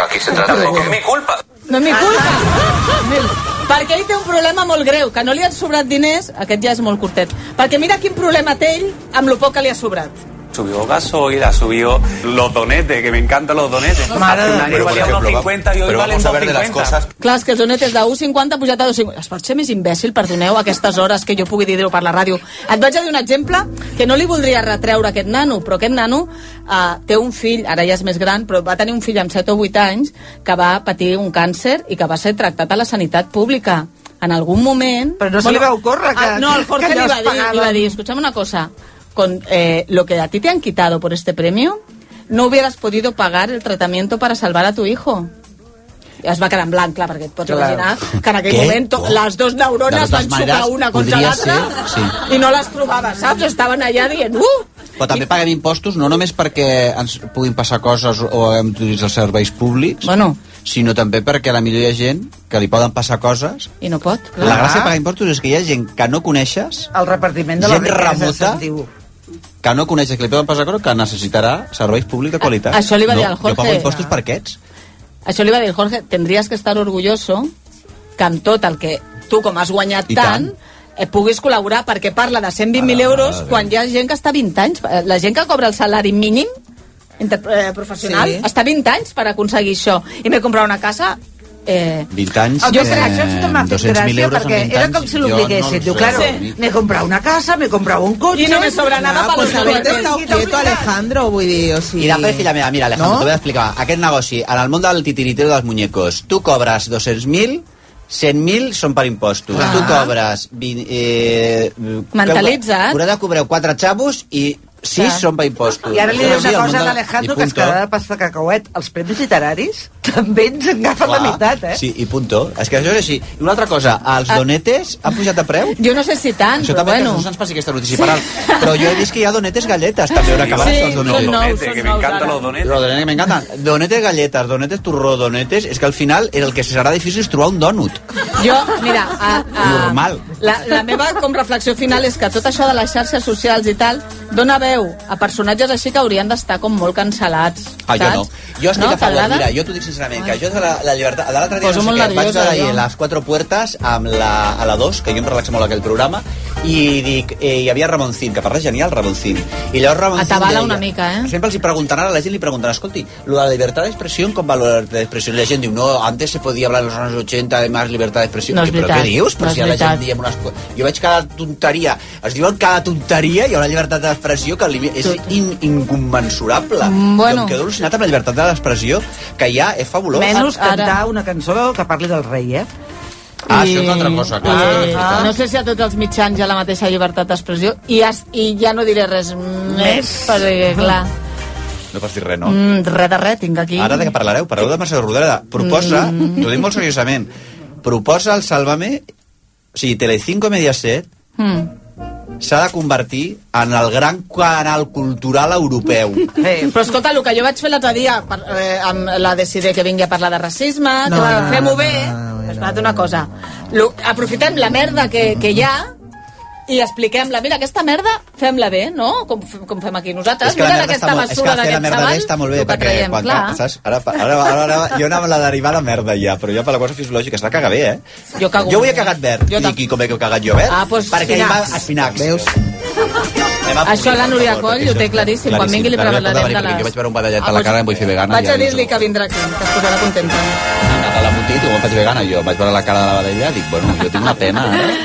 [SPEAKER 24] aquí se trata de... Es mi culpa.
[SPEAKER 12] No és mi culpa. Perquè ell té un problema molt greu, que no li han sobrat diners, aquest ja és molt curtet. Perquè mira quin problema té ell amb lo poc que li ha sobrat.
[SPEAKER 23] Subió gasoil, subió los donetes, que me encantan los donetes.
[SPEAKER 12] Madre
[SPEAKER 23] Hace un año
[SPEAKER 12] Pero, por
[SPEAKER 23] valía
[SPEAKER 24] ejemplo,
[SPEAKER 23] 2,50 y hoy
[SPEAKER 24] pero
[SPEAKER 23] valen
[SPEAKER 24] vamos a ver de las
[SPEAKER 23] 2,50.
[SPEAKER 24] cosas
[SPEAKER 12] Clar, és que els donetes de 1,50 ha pujat a 2,50. Es pot ser més imbècil, perdoneu, a aquestes hores que jo pugui dir-ho per la ràdio. Et vaig a dir un exemple que no li voldria retreure a aquest nano, però aquest nano eh, té un fill, ara ja és més gran, però va tenir un fill amb 7 o 8 anys que va patir un càncer i que va ser tractat a la sanitat pública. En algun moment...
[SPEAKER 15] Però no se li va ocórrer que-
[SPEAKER 12] Ah, no, el Jorge
[SPEAKER 15] que
[SPEAKER 12] li
[SPEAKER 15] no
[SPEAKER 12] va
[SPEAKER 15] es
[SPEAKER 12] dir, li va
[SPEAKER 15] pagaven.
[SPEAKER 12] dir, escúchame una cosa, con eh, lo que a ti te han quitado por este premio, no hubieras podido pagar el tratamiento para salvar a tu hijo. I es va quedar en blanc, clar, perquè et pots
[SPEAKER 11] Clar.
[SPEAKER 12] imaginar que en aquell
[SPEAKER 11] Què?
[SPEAKER 12] moment to- les dues
[SPEAKER 11] De
[SPEAKER 12] neurones
[SPEAKER 11] totes
[SPEAKER 12] van xocar
[SPEAKER 11] maneres,
[SPEAKER 12] una contra
[SPEAKER 11] podria
[SPEAKER 12] l'altra
[SPEAKER 11] ser, sí.
[SPEAKER 12] i no les trobava, saps? Estaven allà dient, uh!
[SPEAKER 11] Però també paguem impostos no només perquè ens puguin passar coses o haguem d'utilitzar els serveis públics,
[SPEAKER 12] bueno.
[SPEAKER 11] sinó també perquè a la millor hi ha gent que li poden passar coses.
[SPEAKER 12] I no pot.
[SPEAKER 11] La gràcia de pagar impostos és que hi ha gent que no coneixes,
[SPEAKER 15] El repartiment de la
[SPEAKER 11] Gent
[SPEAKER 15] riquesa
[SPEAKER 11] remuta.
[SPEAKER 15] se'n diu.
[SPEAKER 11] que no coneixes que li poden passar coses, que necessitarà serveis públics de qualitat.
[SPEAKER 12] A- això li va dir al
[SPEAKER 11] Jo pago
[SPEAKER 12] Jorge.
[SPEAKER 11] impostos per aquests.
[SPEAKER 12] Això li va dir Jorge, tendries que estar orgulloso que amb tot el que tu com has guanyat
[SPEAKER 11] I
[SPEAKER 12] tant,
[SPEAKER 11] tant.
[SPEAKER 12] eh, puguis col·laborar perquè parla de 120.000 euros quan hi ha gent que està 20 anys, eh, la gent que cobra el salari mínim inter, eh, professional,
[SPEAKER 11] Sí.
[SPEAKER 12] sí. està 20 anys per aconseguir això i m'he comprat una casa eh,
[SPEAKER 11] 20 anys,
[SPEAKER 12] Jo
[SPEAKER 11] eh,
[SPEAKER 12] crec-
[SPEAKER 15] Això és que m'ha fet
[SPEAKER 11] 200.000
[SPEAKER 15] gràcia
[SPEAKER 11] euros en
[SPEAKER 15] perquè
[SPEAKER 11] 20
[SPEAKER 15] era
[SPEAKER 11] anys,
[SPEAKER 15] com si
[SPEAKER 11] jo
[SPEAKER 15] l'obliguessin.
[SPEAKER 11] no
[SPEAKER 15] Diu,
[SPEAKER 11] sé.
[SPEAKER 15] claro, m'he comprat una casa, m'he comprat un cotxe...
[SPEAKER 12] I no me sobra nada pa
[SPEAKER 15] Ah, pues
[SPEAKER 12] los
[SPEAKER 15] haberte
[SPEAKER 12] juguetes.
[SPEAKER 15] estado
[SPEAKER 12] Quita un
[SPEAKER 15] quieto,
[SPEAKER 12] plan.
[SPEAKER 15] Alejandro, vull dir, o sigui...
[SPEAKER 11] I després, filla meva, mira, Alejandro,
[SPEAKER 15] No?
[SPEAKER 11] no? t'ho vull explicar. Aquest negoci, en el món del titiritero dels muñecos, tu cobres 200.000, 100.000 són per impostos.
[SPEAKER 12] Clar.
[SPEAKER 15] Ah.
[SPEAKER 11] Tu cobres... 20, eh,
[SPEAKER 12] Mentalitza't.
[SPEAKER 11] Haurà de cobrar 4 xavos i 6
[SPEAKER 15] Clar.
[SPEAKER 11] són per impostos.
[SPEAKER 15] I ara li diré
[SPEAKER 11] Sí, el
[SPEAKER 15] una
[SPEAKER 11] món
[SPEAKER 15] cosa
[SPEAKER 11] del-
[SPEAKER 15] a l'Alejandro
[SPEAKER 11] i
[SPEAKER 15] que es
[SPEAKER 11] punto.
[SPEAKER 15] quedarà pasta de cacauet. Els premis literaris [LAUGHS] també ens agafen la
[SPEAKER 11] Clar.
[SPEAKER 15] meitat, eh?
[SPEAKER 11] Sí, i punto. És que això és així. I una altra cosa, els
[SPEAKER 12] Ah.
[SPEAKER 11] donetes han pujat de preu?
[SPEAKER 12] Jo no sé si tant,
[SPEAKER 11] Això
[SPEAKER 12] però
[SPEAKER 11] també
[SPEAKER 12] bueno.
[SPEAKER 11] bueno. que no se'ns passi aquesta notícia paral. Però jo he vist que hi ha donetes galletes, també, on acaben
[SPEAKER 12] Sí,
[SPEAKER 11] els
[SPEAKER 12] són
[SPEAKER 11] donetes.
[SPEAKER 12] nous, Donete, són que m'encanten nous ara. los
[SPEAKER 11] donetes. Los donetes que m'encanten. Donetes galletes, donetes turró, donetes... És que al final el que serà difícil és trobar un dònut.
[SPEAKER 12] Jo, mira, a, a,
[SPEAKER 11] Normal.
[SPEAKER 12] la, la meva com reflexió final és que tot això de les xarxes socials i tal dona veu a personatges així que haurien d'estar com molt cancel·lats.
[SPEAKER 11] Ah, jo
[SPEAKER 12] saps?
[SPEAKER 11] no. Jo estic
[SPEAKER 12] No?
[SPEAKER 11] a favor,
[SPEAKER 12] T'agrada?
[SPEAKER 11] mira, jo t'ho dic sincerament, que jo de la, la llibertat... De l'altre dia
[SPEAKER 12] Poso
[SPEAKER 11] no
[SPEAKER 12] molt
[SPEAKER 11] sé què, vaig
[SPEAKER 12] nerviosa,
[SPEAKER 11] veure
[SPEAKER 12] jo.
[SPEAKER 11] ahir les quatre puertes amb la, a la 2, que jo em relaxo molt aquell programa, i dic, eh, hi havia Ramoncín, que parla genial, Ramoncín. I llavors Ramoncín
[SPEAKER 12] Atabala
[SPEAKER 11] deia-
[SPEAKER 12] una mica, eh?
[SPEAKER 11] Sempre els hi preguntaran, a la gent li preguntaran, escolti, lo de la libertad de expresión com valor de expresión? I la gent diu, no, antes se podía hablar en los años 80 de más libertad de expresión.
[SPEAKER 12] No és
[SPEAKER 11] Dic, Però
[SPEAKER 12] veritat,
[SPEAKER 11] què dius? Però
[SPEAKER 12] no és
[SPEAKER 11] si ara la
[SPEAKER 12] veritat.
[SPEAKER 11] gent diem unes co- Jo veig cada tonteria, es diuen cada tonteria, hi ha una llibertat d'expressió que li- és in, inconmensurable.
[SPEAKER 12] Mm, bueno.
[SPEAKER 11] Jo em quedo al·lucinat amb la llibertat de l'expressió, que ja és fabulós.
[SPEAKER 15] Menys
[SPEAKER 11] Ah,
[SPEAKER 15] cantar una cançó que parli del rei, eh?
[SPEAKER 11] Ah, això és una altra cosa, clar.
[SPEAKER 12] Eh, no sé si a tots els mitjans hi ha la mateixa llibertat d'expressió i, es, i ja no diré res més, perquè, clar,
[SPEAKER 11] No pots dir res, no?
[SPEAKER 12] mm, res de res tinc aquí.
[SPEAKER 11] Ara de què parlareu? Parleu de Mercè Rodoreda. Proposa,
[SPEAKER 12] Mm.
[SPEAKER 11] t'ho dic molt seriosament, proposa el Sálvame, o sigui, Telecinco i Mediaset
[SPEAKER 12] Mm.
[SPEAKER 11] s'ha de convertir en el gran canal cultural
[SPEAKER 12] [LAUGHS]
[SPEAKER 11] europeu.
[SPEAKER 15] Eh,
[SPEAKER 12] però escolta, el que jo vaig fer l'altre dia per, eh, amb la decidir que vingui a parlar de racisme, no, que no, doncs fem-ho bé, no, no, una cosa. Lo, aprofitem la merda que, que hi ha i expliquem-la. Mira, aquesta merda, fem-la bé, no? Com, f- com fem aquí nosaltres. Mira aquesta
[SPEAKER 11] molt, és que
[SPEAKER 12] mesura
[SPEAKER 11] fer la
[SPEAKER 12] d'aquest
[SPEAKER 11] merda bé
[SPEAKER 12] xaval.
[SPEAKER 11] està molt bé,
[SPEAKER 12] el que
[SPEAKER 11] perquè
[SPEAKER 12] traiem,
[SPEAKER 11] quan,
[SPEAKER 12] clar.
[SPEAKER 11] saps? Ara, pa- ara, ara, ara, jo anava a la derivada merda ja, però jo per la cosa fisiològica es la caga bé, eh?
[SPEAKER 12] Jo cago.
[SPEAKER 11] Jo avui he cagat verd. Jo I qui com he cagat jo verd?
[SPEAKER 12] Ah, doncs
[SPEAKER 11] perquè hi va
[SPEAKER 12] espinacs.
[SPEAKER 11] espinacs. Veus?
[SPEAKER 12] Això la Núria Coll ho té claríssim. Quan vingui li parlarem de
[SPEAKER 11] Jo
[SPEAKER 12] les...
[SPEAKER 11] vaig veure un badallet
[SPEAKER 12] Ah,
[SPEAKER 11] a la
[SPEAKER 12] doncs
[SPEAKER 11] cara i em vull fer vegana.
[SPEAKER 12] Vaig a dir-li que vindrà aquí, que es posarà contenta.
[SPEAKER 11] A la mutit, i em faig vegana jo. Vaig veure la cara de la badalla i dic, bueno, jo tinc una pena, eh?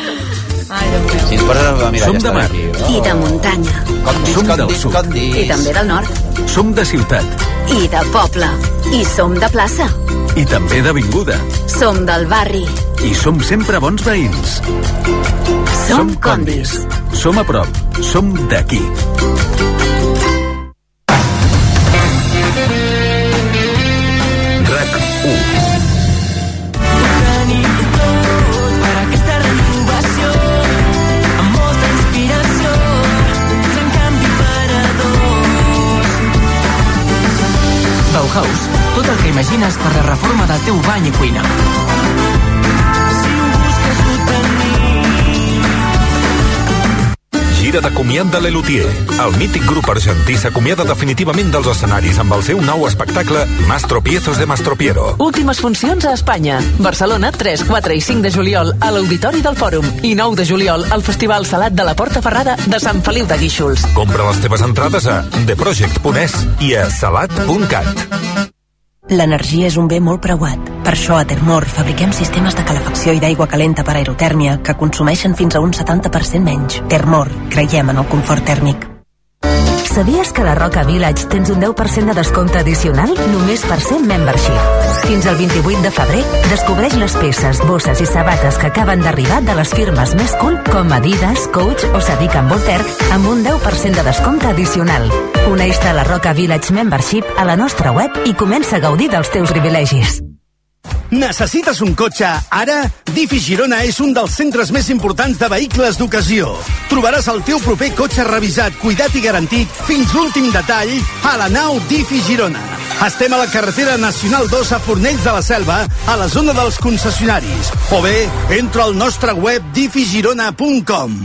[SPEAKER 11] Si ens poses a mirar, ja estarà aquí.
[SPEAKER 25] I de muntanya.
[SPEAKER 11] Condis, condis, condis.
[SPEAKER 25] I també del nord.
[SPEAKER 26] Som de ciutat
[SPEAKER 25] I de poble. I som de plaça.
[SPEAKER 26] i també d'avinguda.
[SPEAKER 25] Som del barri.
[SPEAKER 26] I som sempre bons veïns.
[SPEAKER 25] Som
[SPEAKER 26] condis. Som a prop. Som d'aquí. RAC 1
[SPEAKER 27] per aquesta renovació amb molta inspiració gran canvi parador
[SPEAKER 28] Bauhaus, tot el que imagines per la reforma del teu bany i cuina.
[SPEAKER 27] si ho busques ho tenim
[SPEAKER 6] Gira d'acomiad de Lelutier. El mític grup argentí s'acomiada definitivament dels escenaris amb el seu nou espectacle Mastropiezos de Mastropiero.
[SPEAKER 29] Últimes funcions a Espanya. Barcelona, 3, 4 i 5 de juliol a l'Auditori del Fòrum i 9 de juliol al Festival Salat de la Porta Ferrada de Sant Feliu de Guíxols.
[SPEAKER 6] Compra les teves entrades a theproject.es i a salat.cat.
[SPEAKER 30] L'energia és un bé molt preuat. Per això a Termor fabriquem sistemes de calefacció i d'aigua calenta per aerotèrmia que consumeixen fins a un 70% menys. Termor, creiem en el confort tèrmic.
[SPEAKER 31] Sabies que a la Roca Village tens un 10% de descompte addicional només per ser membership? Fins al 28 de febrer, descobreix les peces, bosses i sabates que acaben d'arribar de les firmes més cool com Adidas, Coach o Sadiq en Voltaire amb un 10% de descompte addicional. Uneix-te a la Roca Village Membership a la nostra web i comença a gaudir dels teus privilegis.
[SPEAKER 32] Necessites un cotxe ara? Difi Girona és un dels centres més importants de vehicles d'ocasió. Trobaràs el teu proper cotxe revisat, cuidat i garantit fins l'últim detall a la nau Difi Girona. Estem a la carretera Nacional 2 a Fornells de la Selva, a la zona dels concessionaris. O bé, entra al nostre web diffigirona.com.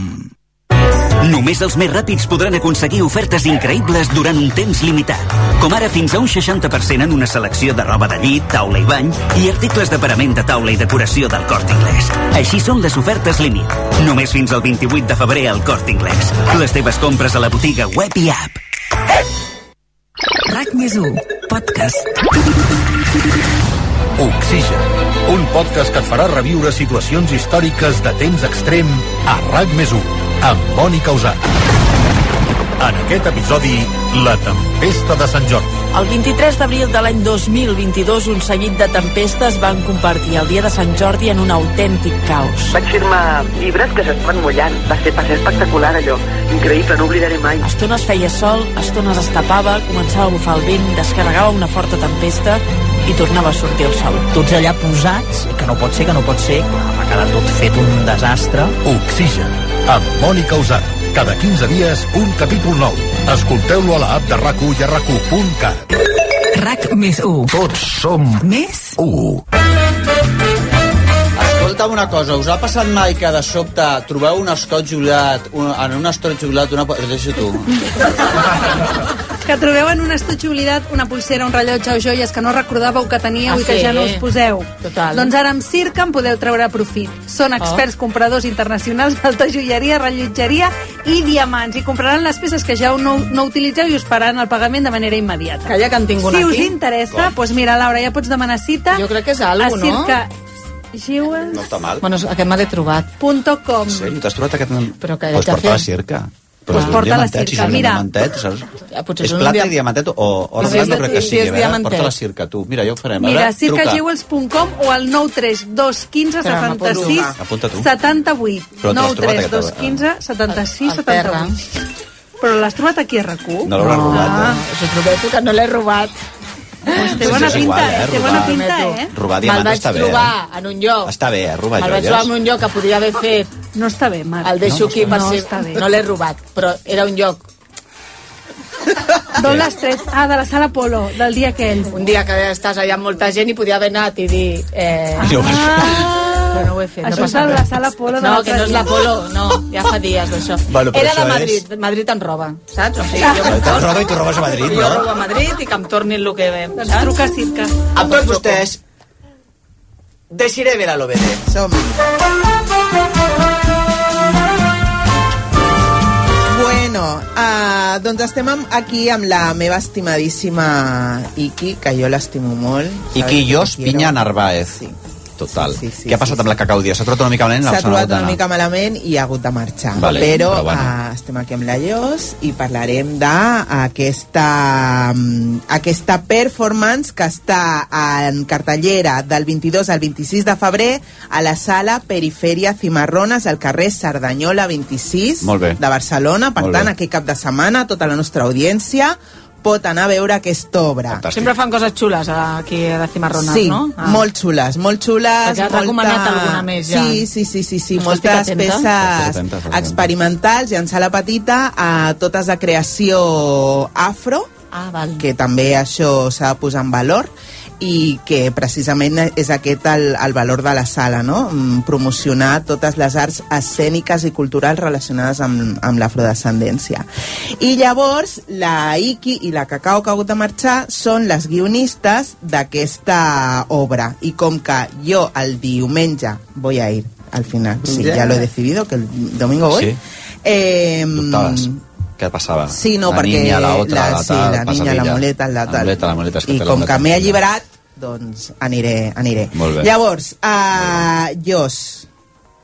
[SPEAKER 33] Només els més ràpids podran aconseguir ofertes increïbles durant un temps limitat. Com ara fins a un 60% en una selecció de roba de llit, taula i bany i articles de parament de taula i decoració del Cort Inglés. Així són les ofertes límit. Només fins al 28 de febrer al Cort Inglés. Les teves compres a la botiga web i app.
[SPEAKER 30] RAC més 1, podcast.
[SPEAKER 34] Oxigen, un podcast que et farà reviure situacions històriques de temps extrem a RAC més 1, amb Mònica Usà. En aquest episodi, la tempesta de Sant Jordi.
[SPEAKER 3] El 23 d'abril de l'any 2022, un seguit de tempestes van compartir el dia de Sant Jordi en un autèntic caos.
[SPEAKER 15] Vaig firmar llibres que s'estaven mullant. Va ser, va ser espectacular, allò. Increïble, no oblidaré mai.
[SPEAKER 3] Estones feia sol, estones es tapava, començava a bufar el vent, descarregava una forta tempesta i tornava a sortir el sol.
[SPEAKER 35] Tots allà posats, que no pot ser, que no pot ser, va quedar tot fet un desastre.
[SPEAKER 34] Oxigen, amb Mònica Usà. Cada 15 dies, un capítol nou. Escolteu-lo a l'app de rac i a rac1.cat.
[SPEAKER 30] RAC més 1.
[SPEAKER 34] Tots som
[SPEAKER 30] més
[SPEAKER 34] 1.
[SPEAKER 11] Escolta'm una cosa, us ha passat mai que de sobte trobeu un escot jubilat, un, en un escot jubilat, una... po- Deixa tu.
[SPEAKER 22] Que trobeu en un estoig oblidat una pulsera, un rellotge o joies que no recordàveu que teníeu
[SPEAKER 12] Ah,
[SPEAKER 22] i que
[SPEAKER 12] sí.
[SPEAKER 22] ja no us poseu.
[SPEAKER 12] Total.
[SPEAKER 22] Doncs ara amb Circa en podeu treure profit.
[SPEAKER 11] Oh.
[SPEAKER 22] Són experts compradors internacionals d'alta joieria, rellotgeria i diamants i compraran les peces que ja no, no utilitzeu i us faran el pagament de manera immediata.
[SPEAKER 12] Calla, que en tinc una
[SPEAKER 22] si us
[SPEAKER 12] aquí.
[SPEAKER 22] interessa,
[SPEAKER 11] Oh.
[SPEAKER 12] Com?
[SPEAKER 22] doncs mira, Laura, ja pots demanar cita jo crec que és
[SPEAKER 12] algo,
[SPEAKER 22] a
[SPEAKER 12] no?
[SPEAKER 22] Circa Jewels.
[SPEAKER 11] No està mal.
[SPEAKER 12] Bueno, aquest me l'he trobat.
[SPEAKER 22] Punto com.
[SPEAKER 11] Sí, t'has trobat aquest... Però
[SPEAKER 22] que
[SPEAKER 11] Pots
[SPEAKER 22] ja
[SPEAKER 11] portar la
[SPEAKER 22] fem.
[SPEAKER 11] circa.
[SPEAKER 22] Pues
[SPEAKER 11] són
[SPEAKER 22] porta la circa,
[SPEAKER 11] diamantets, si són
[SPEAKER 22] mira.
[SPEAKER 11] Diamantets, saps?
[SPEAKER 12] Ja, Ah, potser
[SPEAKER 11] és
[SPEAKER 12] és un
[SPEAKER 11] plata
[SPEAKER 12] dia-
[SPEAKER 11] i diamantet o, o
[SPEAKER 22] Si és
[SPEAKER 11] Orlando
[SPEAKER 22] de-
[SPEAKER 11] crec que
[SPEAKER 22] si
[SPEAKER 11] sigui,
[SPEAKER 22] és
[SPEAKER 11] a veure,
[SPEAKER 22] diamantet.
[SPEAKER 11] porta la circa, tu. Mira, ja ho farem. a
[SPEAKER 22] Mira,
[SPEAKER 11] veure, truca.
[SPEAKER 22] circajewels.com o al 93215
[SPEAKER 11] Espera, m'apunto.
[SPEAKER 22] 76
[SPEAKER 11] Ah, apunta tu.
[SPEAKER 22] 78.
[SPEAKER 11] Però te l'has trobat, aquesta
[SPEAKER 22] 93215 76 78. Però l'has trobat aquí a RAC1?
[SPEAKER 11] No l'hauràs robat, eh?
[SPEAKER 22] us prometo que no l'he robat. Pues té
[SPEAKER 11] Sí,
[SPEAKER 22] bona
[SPEAKER 11] és
[SPEAKER 22] pinta,
[SPEAKER 11] igual, eh,
[SPEAKER 22] eh? Té
[SPEAKER 11] robar.
[SPEAKER 22] bona pinta, eh?
[SPEAKER 11] Robar
[SPEAKER 12] Me'l
[SPEAKER 11] diamants
[SPEAKER 12] vaig
[SPEAKER 11] està bé,
[SPEAKER 12] trobar en un lloc.
[SPEAKER 11] Està bé, eh? Robar
[SPEAKER 12] Me'l vaig trobar en
[SPEAKER 11] joies.
[SPEAKER 12] un lloc que podia haver fet.
[SPEAKER 22] No està bé, Marc.
[SPEAKER 12] El deixo
[SPEAKER 22] No, no
[SPEAKER 12] aquí
[SPEAKER 22] està
[SPEAKER 12] per
[SPEAKER 22] bé.
[SPEAKER 12] si...
[SPEAKER 22] No està bé.
[SPEAKER 12] No l'he robat, però era un lloc.
[SPEAKER 22] D'on l'has tret? Ah, de la sala Polo, del dia aquell.
[SPEAKER 12] Un dia que estàs allà amb molta gent i podia haver anat i dir... Eh,
[SPEAKER 11] Jo-
[SPEAKER 12] Jo no ho he fet.
[SPEAKER 22] Això
[SPEAKER 12] no
[SPEAKER 22] Ah, és Ah. a
[SPEAKER 12] passa
[SPEAKER 22] la
[SPEAKER 12] res.
[SPEAKER 22] sala Polo de
[SPEAKER 12] No,
[SPEAKER 22] l'altre
[SPEAKER 12] que no és
[SPEAKER 22] dia.
[SPEAKER 12] la Polo, no, ja fa dies d'això.
[SPEAKER 11] Bueno, però
[SPEAKER 12] Era de
[SPEAKER 11] això
[SPEAKER 12] Madrid, Madrid en roba, saps? O sigui,
[SPEAKER 22] Ah,
[SPEAKER 12] jo
[SPEAKER 11] Te'n
[SPEAKER 12] me'n torno,
[SPEAKER 11] roba i tu robes a Madrid,
[SPEAKER 12] jo robo
[SPEAKER 11] no?
[SPEAKER 12] a Madrid i que em tornin el que ve,
[SPEAKER 22] Doncs
[SPEAKER 12] saps?
[SPEAKER 22] truca a Circa.
[SPEAKER 11] A tots vostès, deixaré ver a l'OBD. Som...
[SPEAKER 13] Bueno, uh, doncs estem amb, aquí amb la meva estimadíssima Iki, que jo l'estimo molt.
[SPEAKER 11] I
[SPEAKER 13] Sabeu
[SPEAKER 11] qui
[SPEAKER 13] que
[SPEAKER 11] jo,
[SPEAKER 13] la quiero.
[SPEAKER 11] Pinya Narváez. Total. Què ha passat amb la cacaudia? S'ha trobat una mica malament?
[SPEAKER 13] S'ha
[SPEAKER 11] la
[SPEAKER 13] trobat una
[SPEAKER 11] setmana?
[SPEAKER 13] mica malament i ha hagut de marxar.
[SPEAKER 11] Vale,
[SPEAKER 13] però
[SPEAKER 11] però bueno.
[SPEAKER 13] eh, estem aquí amb la Llos i parlarem d'aquesta mm, aquesta performance que està en cartellera del 22 al 26 de febrer a la sala Perifèria Cimarrones al carrer Cerdanyola 26
[SPEAKER 11] Molt bé.
[SPEAKER 13] de Barcelona. Per
[SPEAKER 11] Molt
[SPEAKER 13] tant,
[SPEAKER 11] bé.
[SPEAKER 13] aquest cap de setmana tota la nostra audiència pot anar a veure aquesta obra.
[SPEAKER 12] Sempre fan coses xules eh, aquí a la Cimarrona,
[SPEAKER 13] Sí,
[SPEAKER 12] no?
[SPEAKER 13] ah. molt xules, molt xules.
[SPEAKER 12] Perquè has recomanat alguna més, ja.
[SPEAKER 13] Sí, sí, sí, sí, sí
[SPEAKER 12] Doncs
[SPEAKER 13] moltes
[SPEAKER 12] estic atenta. Estic
[SPEAKER 13] peces
[SPEAKER 12] atenta, estic
[SPEAKER 13] experimentals i en sala petita a totes de creació afro,
[SPEAKER 12] ah, val.
[SPEAKER 13] que també això s'ha de posar en valor i que precisament és aquest el, el valor de la sala, no? Mm, promocionar totes les arts escèniques i culturals relacionades amb, amb l'afrodescendència. I llavors la Iki i la Cacao que ha hagut de marxar són les guionistes d'aquesta obra i com que jo el diumenge voy a ir al final, sí,
[SPEAKER 11] Ja.
[SPEAKER 13] ja lo he decidido que el domingo voy
[SPEAKER 11] Sí.
[SPEAKER 13] eh,
[SPEAKER 11] Dubtaves. Què passava?
[SPEAKER 13] Sí, no,
[SPEAKER 11] la
[SPEAKER 13] perquè
[SPEAKER 11] Niña, la otra,
[SPEAKER 13] la-
[SPEAKER 11] la,
[SPEAKER 13] sí,
[SPEAKER 11] tal,
[SPEAKER 13] la niña,
[SPEAKER 11] pasatilla.
[SPEAKER 13] la muleta, la tal.
[SPEAKER 11] La muleta, la muleta. és
[SPEAKER 13] I
[SPEAKER 11] té la
[SPEAKER 13] com
[SPEAKER 11] muleta.
[SPEAKER 13] que m'he alliberat, doncs aniré, aniré.
[SPEAKER 11] Molt bé.
[SPEAKER 13] Llavors, uh, Jos,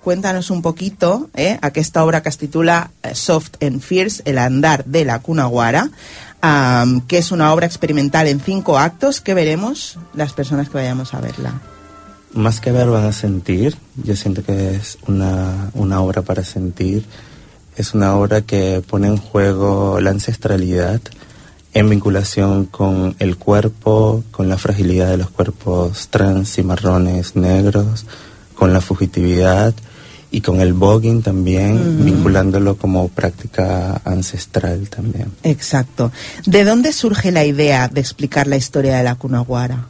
[SPEAKER 13] cuéntanos un poquito eh, aquesta obra que es titula eh, Soft and Fierce, el andar de la cunaguara, um, que es una obra experimental en cinco actos que veremos las personas que vayamos a verla.
[SPEAKER 36] Más que ver van a sentir, yo siento que es una, una obra para sentir, es una obra que pone en juego la ancestralidad en vinculación con el cuerpo, con la fragilidad de los cuerpos trans y marrones negros, con la fugitividad y con el voguing también,
[SPEAKER 13] Mm.
[SPEAKER 36] vinculándolo como práctica ancestral también.
[SPEAKER 13] Exacto. ¿De dónde surge la idea de explicar la historia de la cunaguara?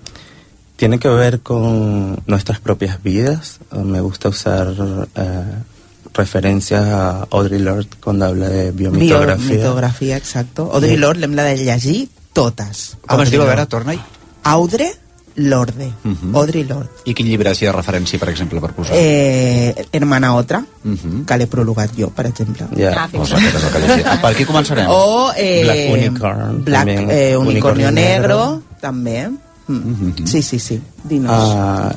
[SPEAKER 36] Tiene que ver con nuestras propias vidas. Eh, Me gusta usar eh, referencias a Audre Lorde cuando habla de biomitografía.
[SPEAKER 13] Biomitografia, exacto. Audre
[SPEAKER 36] Bien.
[SPEAKER 13] Lorde l'hem de llegir totes.
[SPEAKER 11] Com es
[SPEAKER 13] Audre
[SPEAKER 11] diu? A
[SPEAKER 13] Lorde.
[SPEAKER 11] veure, torna-hi. Mhm.
[SPEAKER 13] Audre Lorde. Audre Lorde.
[SPEAKER 11] I quin llibre així de referència, per exemple, per posar?
[SPEAKER 13] Eh, hermana otra,
[SPEAKER 11] Mhm.
[SPEAKER 13] que l'he prologat jo, per exemple.
[SPEAKER 36] Ja.
[SPEAKER 13] Ah,
[SPEAKER 11] Doncs aquest és el
[SPEAKER 13] [LAUGHS]
[SPEAKER 11] que llegiré. Per aquí començarem.
[SPEAKER 13] O eh,
[SPEAKER 36] Black Unicorn,
[SPEAKER 13] Black,
[SPEAKER 36] també.
[SPEAKER 13] eh, Unicornio
[SPEAKER 36] Unicornio
[SPEAKER 13] Negro,
[SPEAKER 36] Negro.
[SPEAKER 13] també. Mm. Sí, sí, sí. Dinos.
[SPEAKER 36] Ah,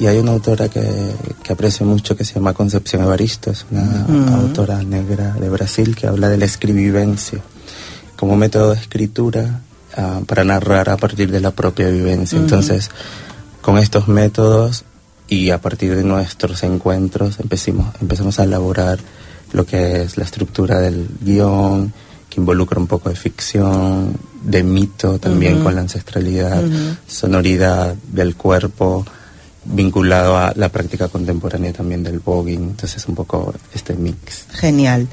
[SPEAKER 36] y hay una autora que, que aprecio mucho que se llama Concepción Evaristo, es una
[SPEAKER 13] Ujú.
[SPEAKER 36] autora negra de Brasil que habla de la escribivencia como método de escritura ah, para narrar a partir de la propia vivencia.
[SPEAKER 13] Ujú.
[SPEAKER 36] Entonces, con estos métodos y a partir de nuestros encuentros empecimos, empezamos a elaborar lo que es la estructura del guión, que involucra un poco de ficción, de mito también
[SPEAKER 13] Ujú.
[SPEAKER 36] con la ancestralidad,
[SPEAKER 11] Mm.
[SPEAKER 13] Ujú.
[SPEAKER 36] sonoridad del cuerpo, vinculado a la práctica contemporánea también del voguing. Entonces, un poco este mix.
[SPEAKER 13] Genial.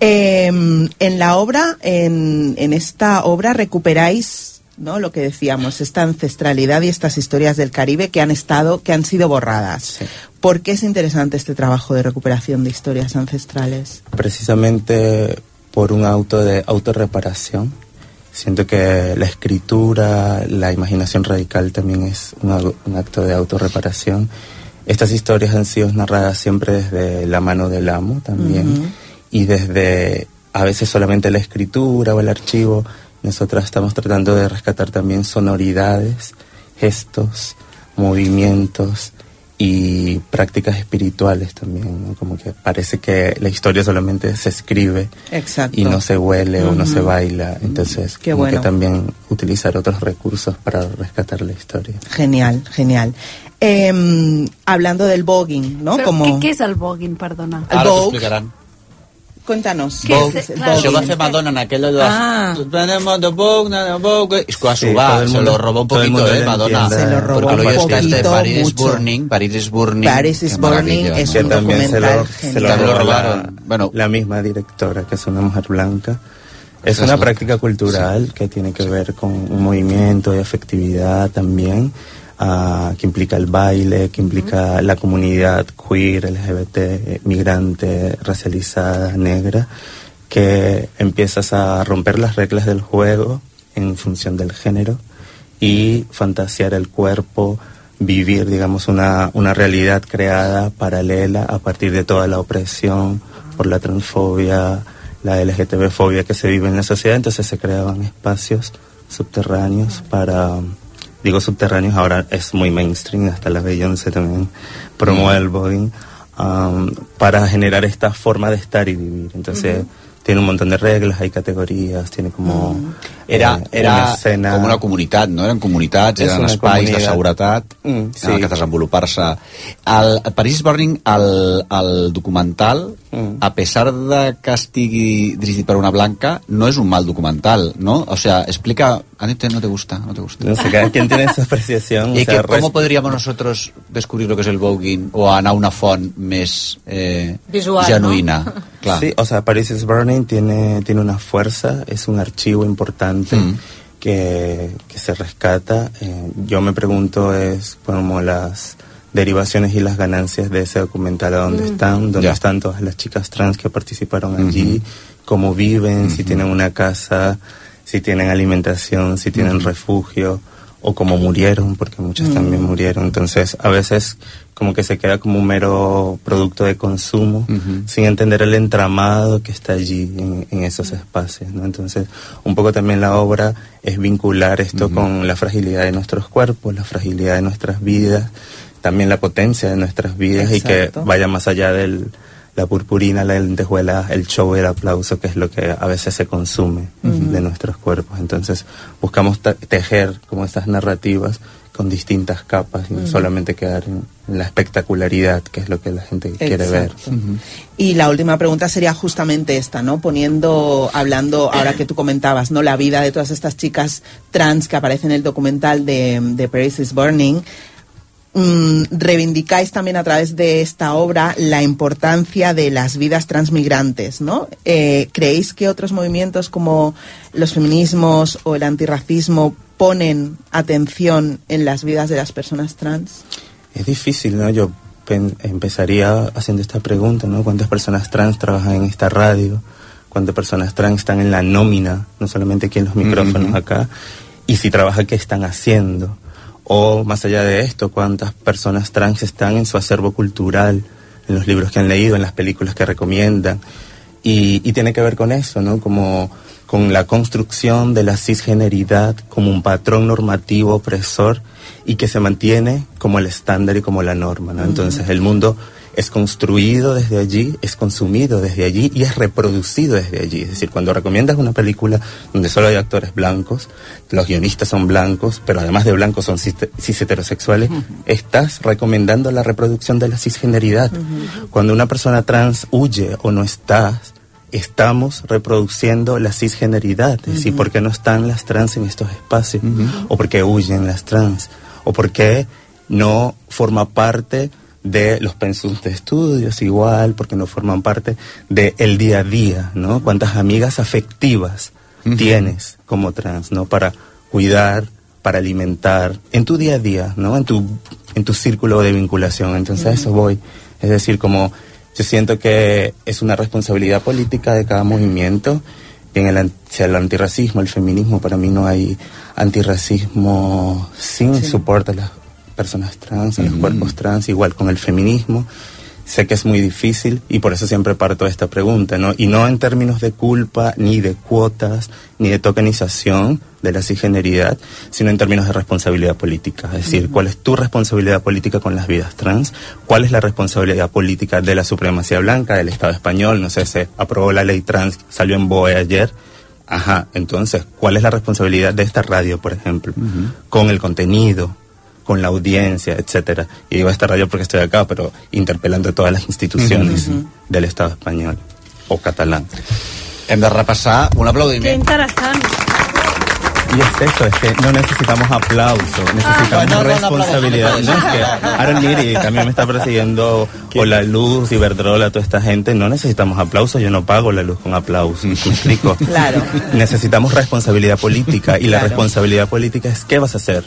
[SPEAKER 13] Eh, en la obra, en, en esta obra recuperáis, ¿no? Lo que decíamos, esta ancestralidad y estas historias del Caribe que han estado, que han sido borradas. ¿Por qué es interesante este trabajo de recuperación de historias ancestrales?
[SPEAKER 36] precisamente por un auto de autorreparación. Siento que la escritura, la imaginación radical también es un, au- un acto de autorreparación. Estas historias han sido narradas siempre desde la mano del amo también y desde a veces solamente la escritura o el archivo. Nosotras estamos tratando de rescatar también sonoridades, gestos, movimientos y prácticas espirituales también, ¿no? como que parece que la historia solamente se escribe
[SPEAKER 13] Exacto.
[SPEAKER 36] y no se huele o no se
[SPEAKER 13] Ujú.
[SPEAKER 36] baila, entonces
[SPEAKER 13] Qué
[SPEAKER 36] como
[SPEAKER 13] bueno.
[SPEAKER 36] que también utilizar otros recursos para rescatar la historia.
[SPEAKER 13] Genial, genial. Eh, hablando del voguing, ¿no?
[SPEAKER 22] Però
[SPEAKER 13] Como Ah,
[SPEAKER 22] què, què és el voguing, perdona?
[SPEAKER 13] el
[SPEAKER 11] Ara t'ho
[SPEAKER 13] vogue,
[SPEAKER 11] explicaran.
[SPEAKER 13] cuéntanos.
[SPEAKER 22] Què és? Clar,
[SPEAKER 11] Això va
[SPEAKER 13] sí.
[SPEAKER 11] fer Madonna en aquell de...
[SPEAKER 13] Ah.
[SPEAKER 11] Tenemos the Vogue, the Vogue... És que va
[SPEAKER 36] Sí,
[SPEAKER 11] subar,
[SPEAKER 36] todo el
[SPEAKER 11] se
[SPEAKER 36] mundo-
[SPEAKER 11] lo robó un
[SPEAKER 36] todo el
[SPEAKER 11] poquito,
[SPEAKER 36] mundo
[SPEAKER 11] eh,
[SPEAKER 36] lo
[SPEAKER 11] Madonna.
[SPEAKER 36] entiende. Se lo robó
[SPEAKER 11] Porque lo
[SPEAKER 36] un
[SPEAKER 11] vio está este
[SPEAKER 36] poquito,
[SPEAKER 11] Paris is
[SPEAKER 36] mucho.
[SPEAKER 11] Burning, Paris is Burning...
[SPEAKER 36] Paris
[SPEAKER 11] qué
[SPEAKER 36] is Burning
[SPEAKER 11] maravilla,
[SPEAKER 36] es
[SPEAKER 11] ¿no?
[SPEAKER 36] un Que también se lo- documental se lo
[SPEAKER 11] También lo
[SPEAKER 36] robó la-
[SPEAKER 11] robaron. Bueno,
[SPEAKER 36] La misma directora, que es una mujer blanca, es
[SPEAKER 11] Es
[SPEAKER 36] una
[SPEAKER 11] blanca.
[SPEAKER 36] práctica cultural que tiene que ver con un movimiento de afectividad también. ah, que implica el baile, que implica la comunidad queer, LGBT, eh, migrante, racializada, negra, que empiezas a romper las reglas del juego en función del género y fantasear el cuerpo, vivir, digamos, una, una realidad creada paralela a partir de toda la opresión por la transfobia, la LGTB-fobia que se vive en la sociedad. Entonces se creaban espacios subterráneos para... Digo subterráneos, ahora es muy mainstream, hasta la Beyoncé también promueve el voguing, um, para generar esta forma de estar y vivir. Entonces, tiene un montón de reglas, hay categorías, tiene como...
[SPEAKER 11] Era,
[SPEAKER 36] eh,
[SPEAKER 11] era
[SPEAKER 36] una escena-
[SPEAKER 11] com una comunitat, no? Eren comunitats,
[SPEAKER 36] És
[SPEAKER 11] eren
[SPEAKER 36] una
[SPEAKER 11] espais
[SPEAKER 36] comunitat.
[SPEAKER 11] de seguretat
[SPEAKER 36] Mm,
[SPEAKER 11] mm,
[SPEAKER 36] sí.
[SPEAKER 11] sí. en què desenvolupar-se. El Paris Burning, el, el documental, mm. a pesar de que estigui dirigit per una blanca, no és un mal documental, no? O sea, explica... A ti te- no te gusta, no te gusta.
[SPEAKER 36] No sé, cada quien tiene su
[SPEAKER 11] [LAUGHS]
[SPEAKER 36] apreciación. o
[SPEAKER 11] ¿Y
[SPEAKER 36] sea,
[SPEAKER 11] que,
[SPEAKER 36] res-
[SPEAKER 11] cómo podríamos nosotros descubrir lo que es el voguing o anar a una font més eh,
[SPEAKER 12] Visual,
[SPEAKER 11] genuïna? Clar.
[SPEAKER 36] Sí, o sea, Paris is Burning tiene, tiene una fuerza, es un archivo importante que, que se rescata. Eh, yo me pregunto es como las derivaciones y las ganancias de ese documental, a dónde
[SPEAKER 26] Mm.
[SPEAKER 36] están, dónde
[SPEAKER 26] Ya.
[SPEAKER 36] están todas las chicas trans que participaron allí, cómo viven, si tienen una casa, si tienen alimentación, si tienen refugio o cómo murieron, porque muchas
[SPEAKER 26] Mm.
[SPEAKER 36] también murieron. Entonces, a veces como que se queda como un mero producto de consumo, sin entender el entramado que está allí en, en esos espacios. ¿no? Entonces, un poco también la obra es vincular esto con la fragilidad de nuestros cuerpos, la fragilidad de nuestras vidas, también la potencia de nuestras vidas y
[SPEAKER 26] Exacto.
[SPEAKER 36] que vaya más allá del la purpurina, la lentejuela, el show, el aplauso, que es lo que a veces se consume de nuestros cuerpos. Entonces, buscamos ta- tejer como estas narrativas con distintas capas y no
[SPEAKER 2] Ujú.
[SPEAKER 36] solamente quedar en la espectacularidad, que es lo que la gente quiere ver.
[SPEAKER 2] Exacto. Y la última pregunta sería justamente esta, ¿no? Poniendo, hablando ahora que tú comentabas, ¿no? La vida de todas estas chicas trans que aparecen en el documental de, de Paris is Burning. Mm, reivindicáis también a través de esta obra la importancia de las vidas transmigrantes, ¿no? Eh, ¿Creéis que otros movimientos como los feminismos o el antirracismo ponen atención en las vidas de las personas
[SPEAKER 36] [LAUGHS]
[SPEAKER 2] trans?
[SPEAKER 36] Es difícil, ¿no? Yo pen- empezaría haciendo esta pregunta, ¿no? ¿Cuántas personas trans trabajan en esta radio? ¿Cuántas personas trans están en la nómina? No solamente aquí en los micrófonos acá. Y si trabaja, ¿qué están haciendo? O más allá de esto, ¿cuántas personas trans están en su acervo cultural? En los libros que han leído, en las películas que recomiendan. Y, y tiene que ver con eso, ¿no? Como con la construcción de la cisgeneridad como un patrón normativo opresor y que se mantiene como el estándar y como la norma. ¿no? Entonces el mundo es construido desde allí, es consumido desde allí y es reproducido desde allí. Es decir, cuando recomiendas una película donde solo hay actores blancos, los guionistas son blancos, pero además de blancos son cis cis heterosexuales, estás recomendando la reproducción de la cisgeneridad. Cuando una persona trans huye o no está, estamos reproduciendo la cisgeneridad. Es decir, ¿por qué no están las trans en estos espacios? ¿O por qué huyen las trans? ¿O por qué no forma parte de los pensos de estudios igual? porque no forman parte del el día a día? ¿no? ¿Cuántas amigas afectivas tienes como trans ¿no? para cuidar, para alimentar en tu día a día, ¿no? en, tu, en tu círculo de vinculación? Entonces a eso voy. Es decir, como yo siento que es una responsabilidad política de cada movimiento. Y en el, an- sea el antirracismo, el feminismo, para mí no hay antirracismo sin soporte a las personas trans, a los cuerpos trans, igual con el feminismo. Sé que es muy difícil y por eso siempre parto de esta pregunta, ¿no? Y no en términos de culpa, ni de cuotas, ni de tokenización de la cisgeneridad, sino en términos de responsabilidad política. Es decir, ¿cuál es tu responsabilidad política con las vidas trans? ¿Cuál es la responsabilidad política de la supremacía blanca, del Estado español? No sé, se aprobó la ley trans, salió en BOE ayer. Ajá, entonces, ¿cuál es la responsabilidad de esta radio, por ejemplo?
[SPEAKER 11] Mhm.
[SPEAKER 36] Con el contenido, con la audiencia, etcétera. Y digo esta radio porque estoy acá, pero interpelando a todas las instituciones del Estado español o catalán.
[SPEAKER 11] Hem de repassar un
[SPEAKER 22] Que
[SPEAKER 11] aplaudiment.
[SPEAKER 22] interessant.
[SPEAKER 36] Y es eso, es que no necesitamos aplauso, necesitamos
[SPEAKER 11] Ah, Bueno, no, no, no,
[SPEAKER 36] responsabilidad.
[SPEAKER 11] aplauso,
[SPEAKER 36] No,
[SPEAKER 11] no,
[SPEAKER 36] es que Aaron Neri también me está persiguiendo o la luz, Iberdrola, toda esta gente. No necesitamos aplauso, yo no pago la luz con aplauso. ¿Me explico?
[SPEAKER 2] Claro.
[SPEAKER 36] Necesitamos responsabilidad política y la responsabilidad política es qué vas a hacer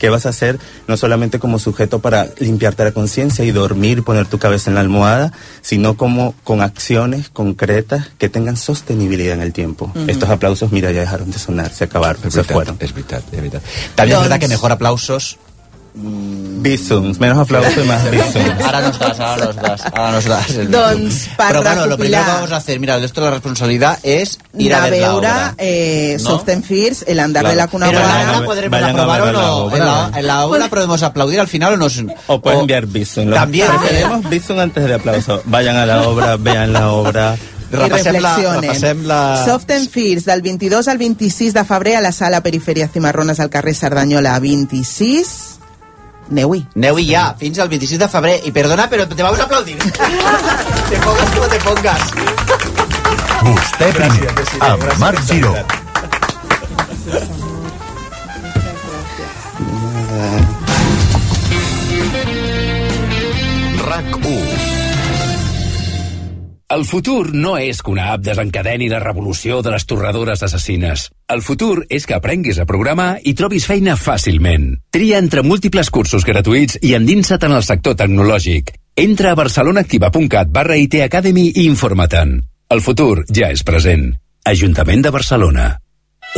[SPEAKER 36] ¿Qué vas a hacer no solamente como sujeto para limpiarte la conciencia y dormir, poner tu cabeza en la almohada, sino como con acciones concretas que tengan sostenibilidad en el tiempo?
[SPEAKER 11] Ujú.
[SPEAKER 36] Estos aplausos, mira, ya dejaron de sonar, se acabaron, se
[SPEAKER 11] veritat,
[SPEAKER 36] fueron.
[SPEAKER 11] És veritat, és veritat. També és veritat que mejor aplausos...
[SPEAKER 36] Bizums, menos aplausos y más bizums.
[SPEAKER 11] Ahora nos das, ahora nos das, ahora nos das. el
[SPEAKER 2] Doncs,
[SPEAKER 11] bizum.
[SPEAKER 2] per
[SPEAKER 11] Però bueno, lo
[SPEAKER 2] recopilar-
[SPEAKER 11] primero que vamos a hacer, mira, esto la responsabilidad es ir a
[SPEAKER 2] de
[SPEAKER 11] ver la
[SPEAKER 2] veure
[SPEAKER 11] obra.
[SPEAKER 2] eh,
[SPEAKER 11] ¿no?
[SPEAKER 2] Soft and Fierce, el andar de la
[SPEAKER 11] Claro.
[SPEAKER 2] cuna
[SPEAKER 11] Pero en
[SPEAKER 2] volada.
[SPEAKER 11] la obra podremos
[SPEAKER 36] vayan a
[SPEAKER 11] aprobar o
[SPEAKER 36] ver la
[SPEAKER 11] no.
[SPEAKER 36] obra.
[SPEAKER 11] En la, en la obra podemos aplaudir al final o nos...
[SPEAKER 36] O pueden enviar Bizum. Lo
[SPEAKER 11] También.
[SPEAKER 36] preferimos Bizum antes de aplauso. Vayan a la obra, vean la obra.
[SPEAKER 2] i reflexionen. Soft and Fierce, del 22 al 26 de febrer a la sala Perifèria Cimarrones al carrer Cerdanyola 26. Neu-hi.
[SPEAKER 11] Neu-hi ja, fins al 26 de febrer. I perdona, però te vamos a [LAUGHS] aplaudir. te pongas como te pongas.
[SPEAKER 16] Vostè primer, amb Marc Giró.
[SPEAKER 26] RAC 1 El futur no és que una app desencadeni la revolució de les torradores assassines. El futur és que aprenguis a programar i trobis feina fàcilment. Tria entre múltiples cursos gratuïts i endinsa't en el sector tecnològic. Entra a barcelonaactiva.cat barra IT Academy i informa-te'n. El futur ja és present. Ajuntament de Barcelona.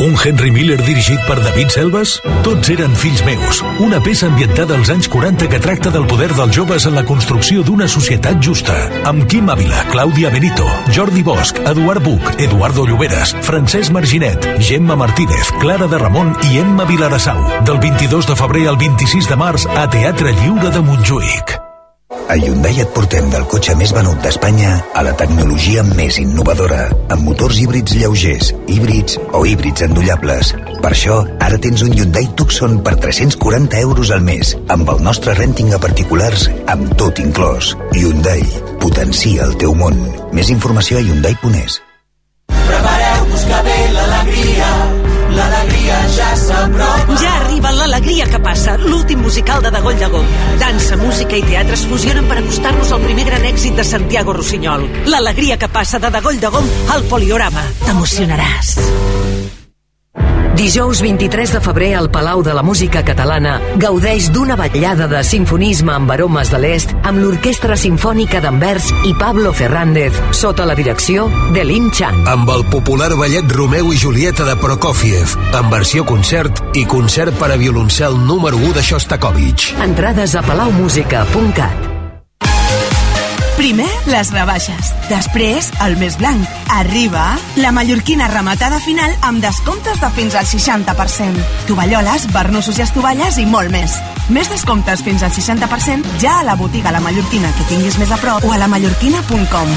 [SPEAKER 34] Un Henry Miller dirigit per David Selves? Tots eren fills meus. Una peça ambientada als anys 40 que tracta del poder dels joves en la construcció d'una societat justa. Amb Quim Ávila, Clàudia Benito, Jordi Bosch, Eduard Buch, Eduardo Lloberes, Francesc Marginet, Gemma Martínez, Clara de Ramon i Emma Vilarasau. Del 22 de febrer al 26 de març a Teatre Lliure de Montjuïc.
[SPEAKER 30] A Hyundai et portem del cotxe més venut d'Espanya a la tecnologia més innovadora, amb motors híbrids lleugers, híbrids o híbrids endollables. Per això, ara tens un Hyundai Tucson per 340 euros al mes, amb el nostre renting a particulars, amb tot inclòs. Hyundai, potencia el teu món. Més informació a Hyundai.es.
[SPEAKER 37] Prepareu-vos que ve l'alegria, l'alegria ja s'apropa.
[SPEAKER 8] Ja arriba l'alegria que passa, l'últim musical de Dagoll Dagó. Dansa, música i teatre es fusionen per acostar-nos al primer gran èxit de Santiago Rossinyol. L'alegria que passa de Dagoll Dagó al Poliorama.
[SPEAKER 31] T'emocionaràs.
[SPEAKER 34] Dijous
[SPEAKER 31] 23 de febrer al Palau de la Música Catalana gaudeix d'una vetllada de sinfonisme amb aromes de l'est amb l'Orquestra Simfònica d'Anvers i Pablo Fernández sota la direcció de Lin Chan.
[SPEAKER 34] amb el popular ballet Romeu i Julieta de Prokofiev, en versió concert i concert per a violoncel número 1 de Shostakovich.
[SPEAKER 31] Entrades a palaumusica.cat.
[SPEAKER 9] Primer, les rebaixes. Després, el més blanc. Arriba la mallorquina rematada final amb descomptes de fins al 60%. Tovalloles, barnussos i estovalles i molt més. Més descomptes fins al 60% ja a la botiga La Mallorquina que tinguis més a prop o a lamallorquina.com.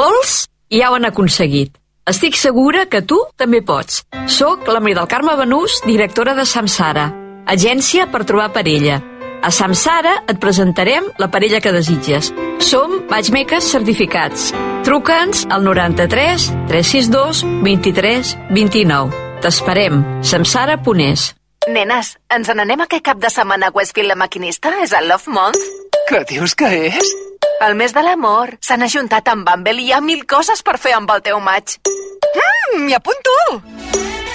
[SPEAKER 21] Molts ja ho han aconseguit. Estic segura que tu també pots. Soc la Maria del Carme Benús, directora de Samsara, agència per trobar parella. A Samsara et presentarem la parella que desitges. Som matchmakers certificats. Truca'ns al 93 362 23 29. T'esperem. Samsara Ponés.
[SPEAKER 14] Nenes, ens n'anem aquest cap de setmana a Westfield la maquinista? És el Love Month?
[SPEAKER 13] Què dius que és?
[SPEAKER 14] El mes de l'amor. S'han ajuntat amb Bumble i hi ha mil coses per fer amb el teu maig. Mm, m'hi apunto!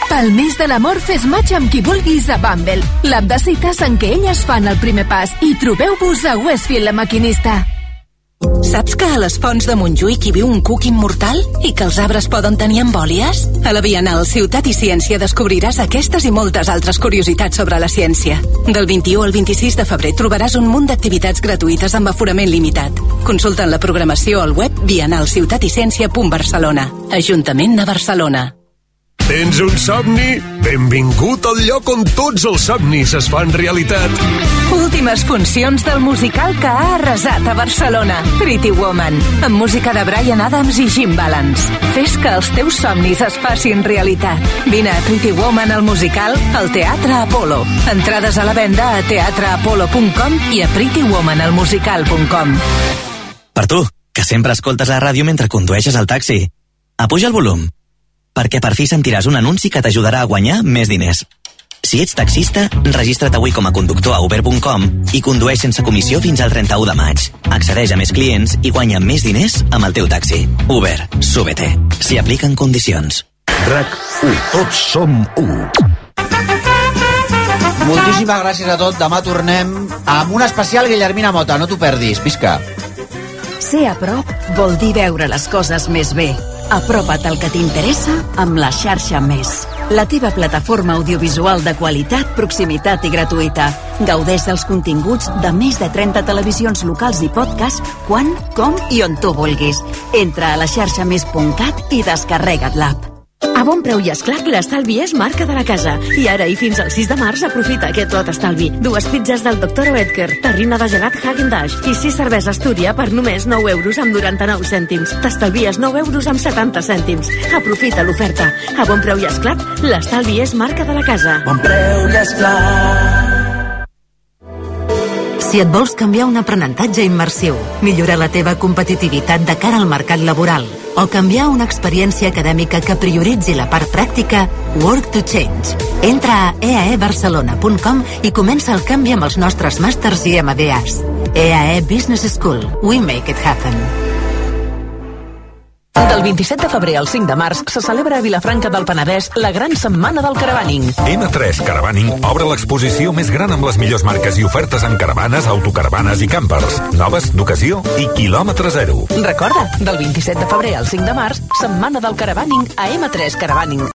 [SPEAKER 17] Pel mes de l'amor fes match amb qui vulguis a Bumble, l'app de cites en què elles fan el primer pas i trobeu-vos a Westfield la maquinista.
[SPEAKER 3] Saps que a les fonts de Montjuïc hi viu un cuc immortal i que els arbres poden tenir embòlies? A la Bienal Ciutat i Ciència descobriràs aquestes i moltes altres curiositats sobre la ciència. Del 21 al 26 de febrer trobaràs un munt d'activitats gratuïtes amb aforament limitat. Consulta'n la programació al web bienalciutaticiència.barcelona. Ajuntament de Barcelona.
[SPEAKER 10] Tens un somni? Benvingut al lloc on tots els somnis es fan realitat.
[SPEAKER 3] Últimes funcions del musical que ha arrasat a Barcelona, Pretty Woman, amb música de Brian Adams i Jim Balance. Fes que els teus somnis es facin realitat. Vine a Pretty Woman al musical al Teatre Apolo. Entrades a la venda a teatreapolo.com i a prettywomanalmusical.com.
[SPEAKER 23] Per tu, que sempre escoltes la ràdio mentre condueixes el taxi. Apuja el volum, perquè per fi sentiràs un anunci que t'ajudarà a guanyar més diners. Si ets taxista, registra't avui com a conductor a uber.com i condueix sense comissió fins al 31 de maig. Accedeix a més clients i guanya més diners amb el teu taxi. Uber, súbete. S'hi apliquen condicions.
[SPEAKER 10] RAC 1. Tots som 1.
[SPEAKER 11] Moltíssimes gràcies a tot. Demà tornem amb un especial Guillermina Mota. No t'ho perdis. Visca.
[SPEAKER 3] Ser a prop vol dir veure les coses més bé. Apropa't al que t'interessa amb la xarxa Més. La teva plataforma audiovisual de qualitat, proximitat i gratuïta. Gaudeix dels continguts de més de 30 televisions locals i podcast quan, com i on tu vulguis. Entra a la xarxa més.cat i descarrega't l'app.
[SPEAKER 38] A bon preu i esclat, l'estalvi és marca de la casa. I ara i fins al 6 de març aprofita aquest lot estalvi. Dues pizzas del Dr. Oetker, terrina de gelat Hagen Dash i 6 cerveses Túria per només 9 euros amb 99 cèntims. T'estalvies 9 euros amb 70 cèntims. Aprofita l'oferta. A bon preu i esclat, l'estalvi és marca de la casa.
[SPEAKER 37] Bon preu i esclat.
[SPEAKER 31] Si et vols canviar un aprenentatge immersiu, millorar la teva competitivitat de cara al mercat laboral o canviar una experiència acadèmica que prioritzi la part pràctica, Work to Change. Entra a eaebarcelona.com i comença el canvi amb els nostres màsters i MBAs. EAE E Business School. We make it happen.
[SPEAKER 39] Del 27 de febrer al 5 de març se celebra a Vilafranca del Penedès la gran setmana del caravaning.
[SPEAKER 6] N3 Caravaning obre l'exposició més gran amb les millors marques i ofertes en caravanes, autocaravanes i càmpers, noves, d'ocasió i quilòmetre zero.
[SPEAKER 39] Recorda, del 27 de febrer al 5 de març, setmana del caravaning a M3 Caravaning.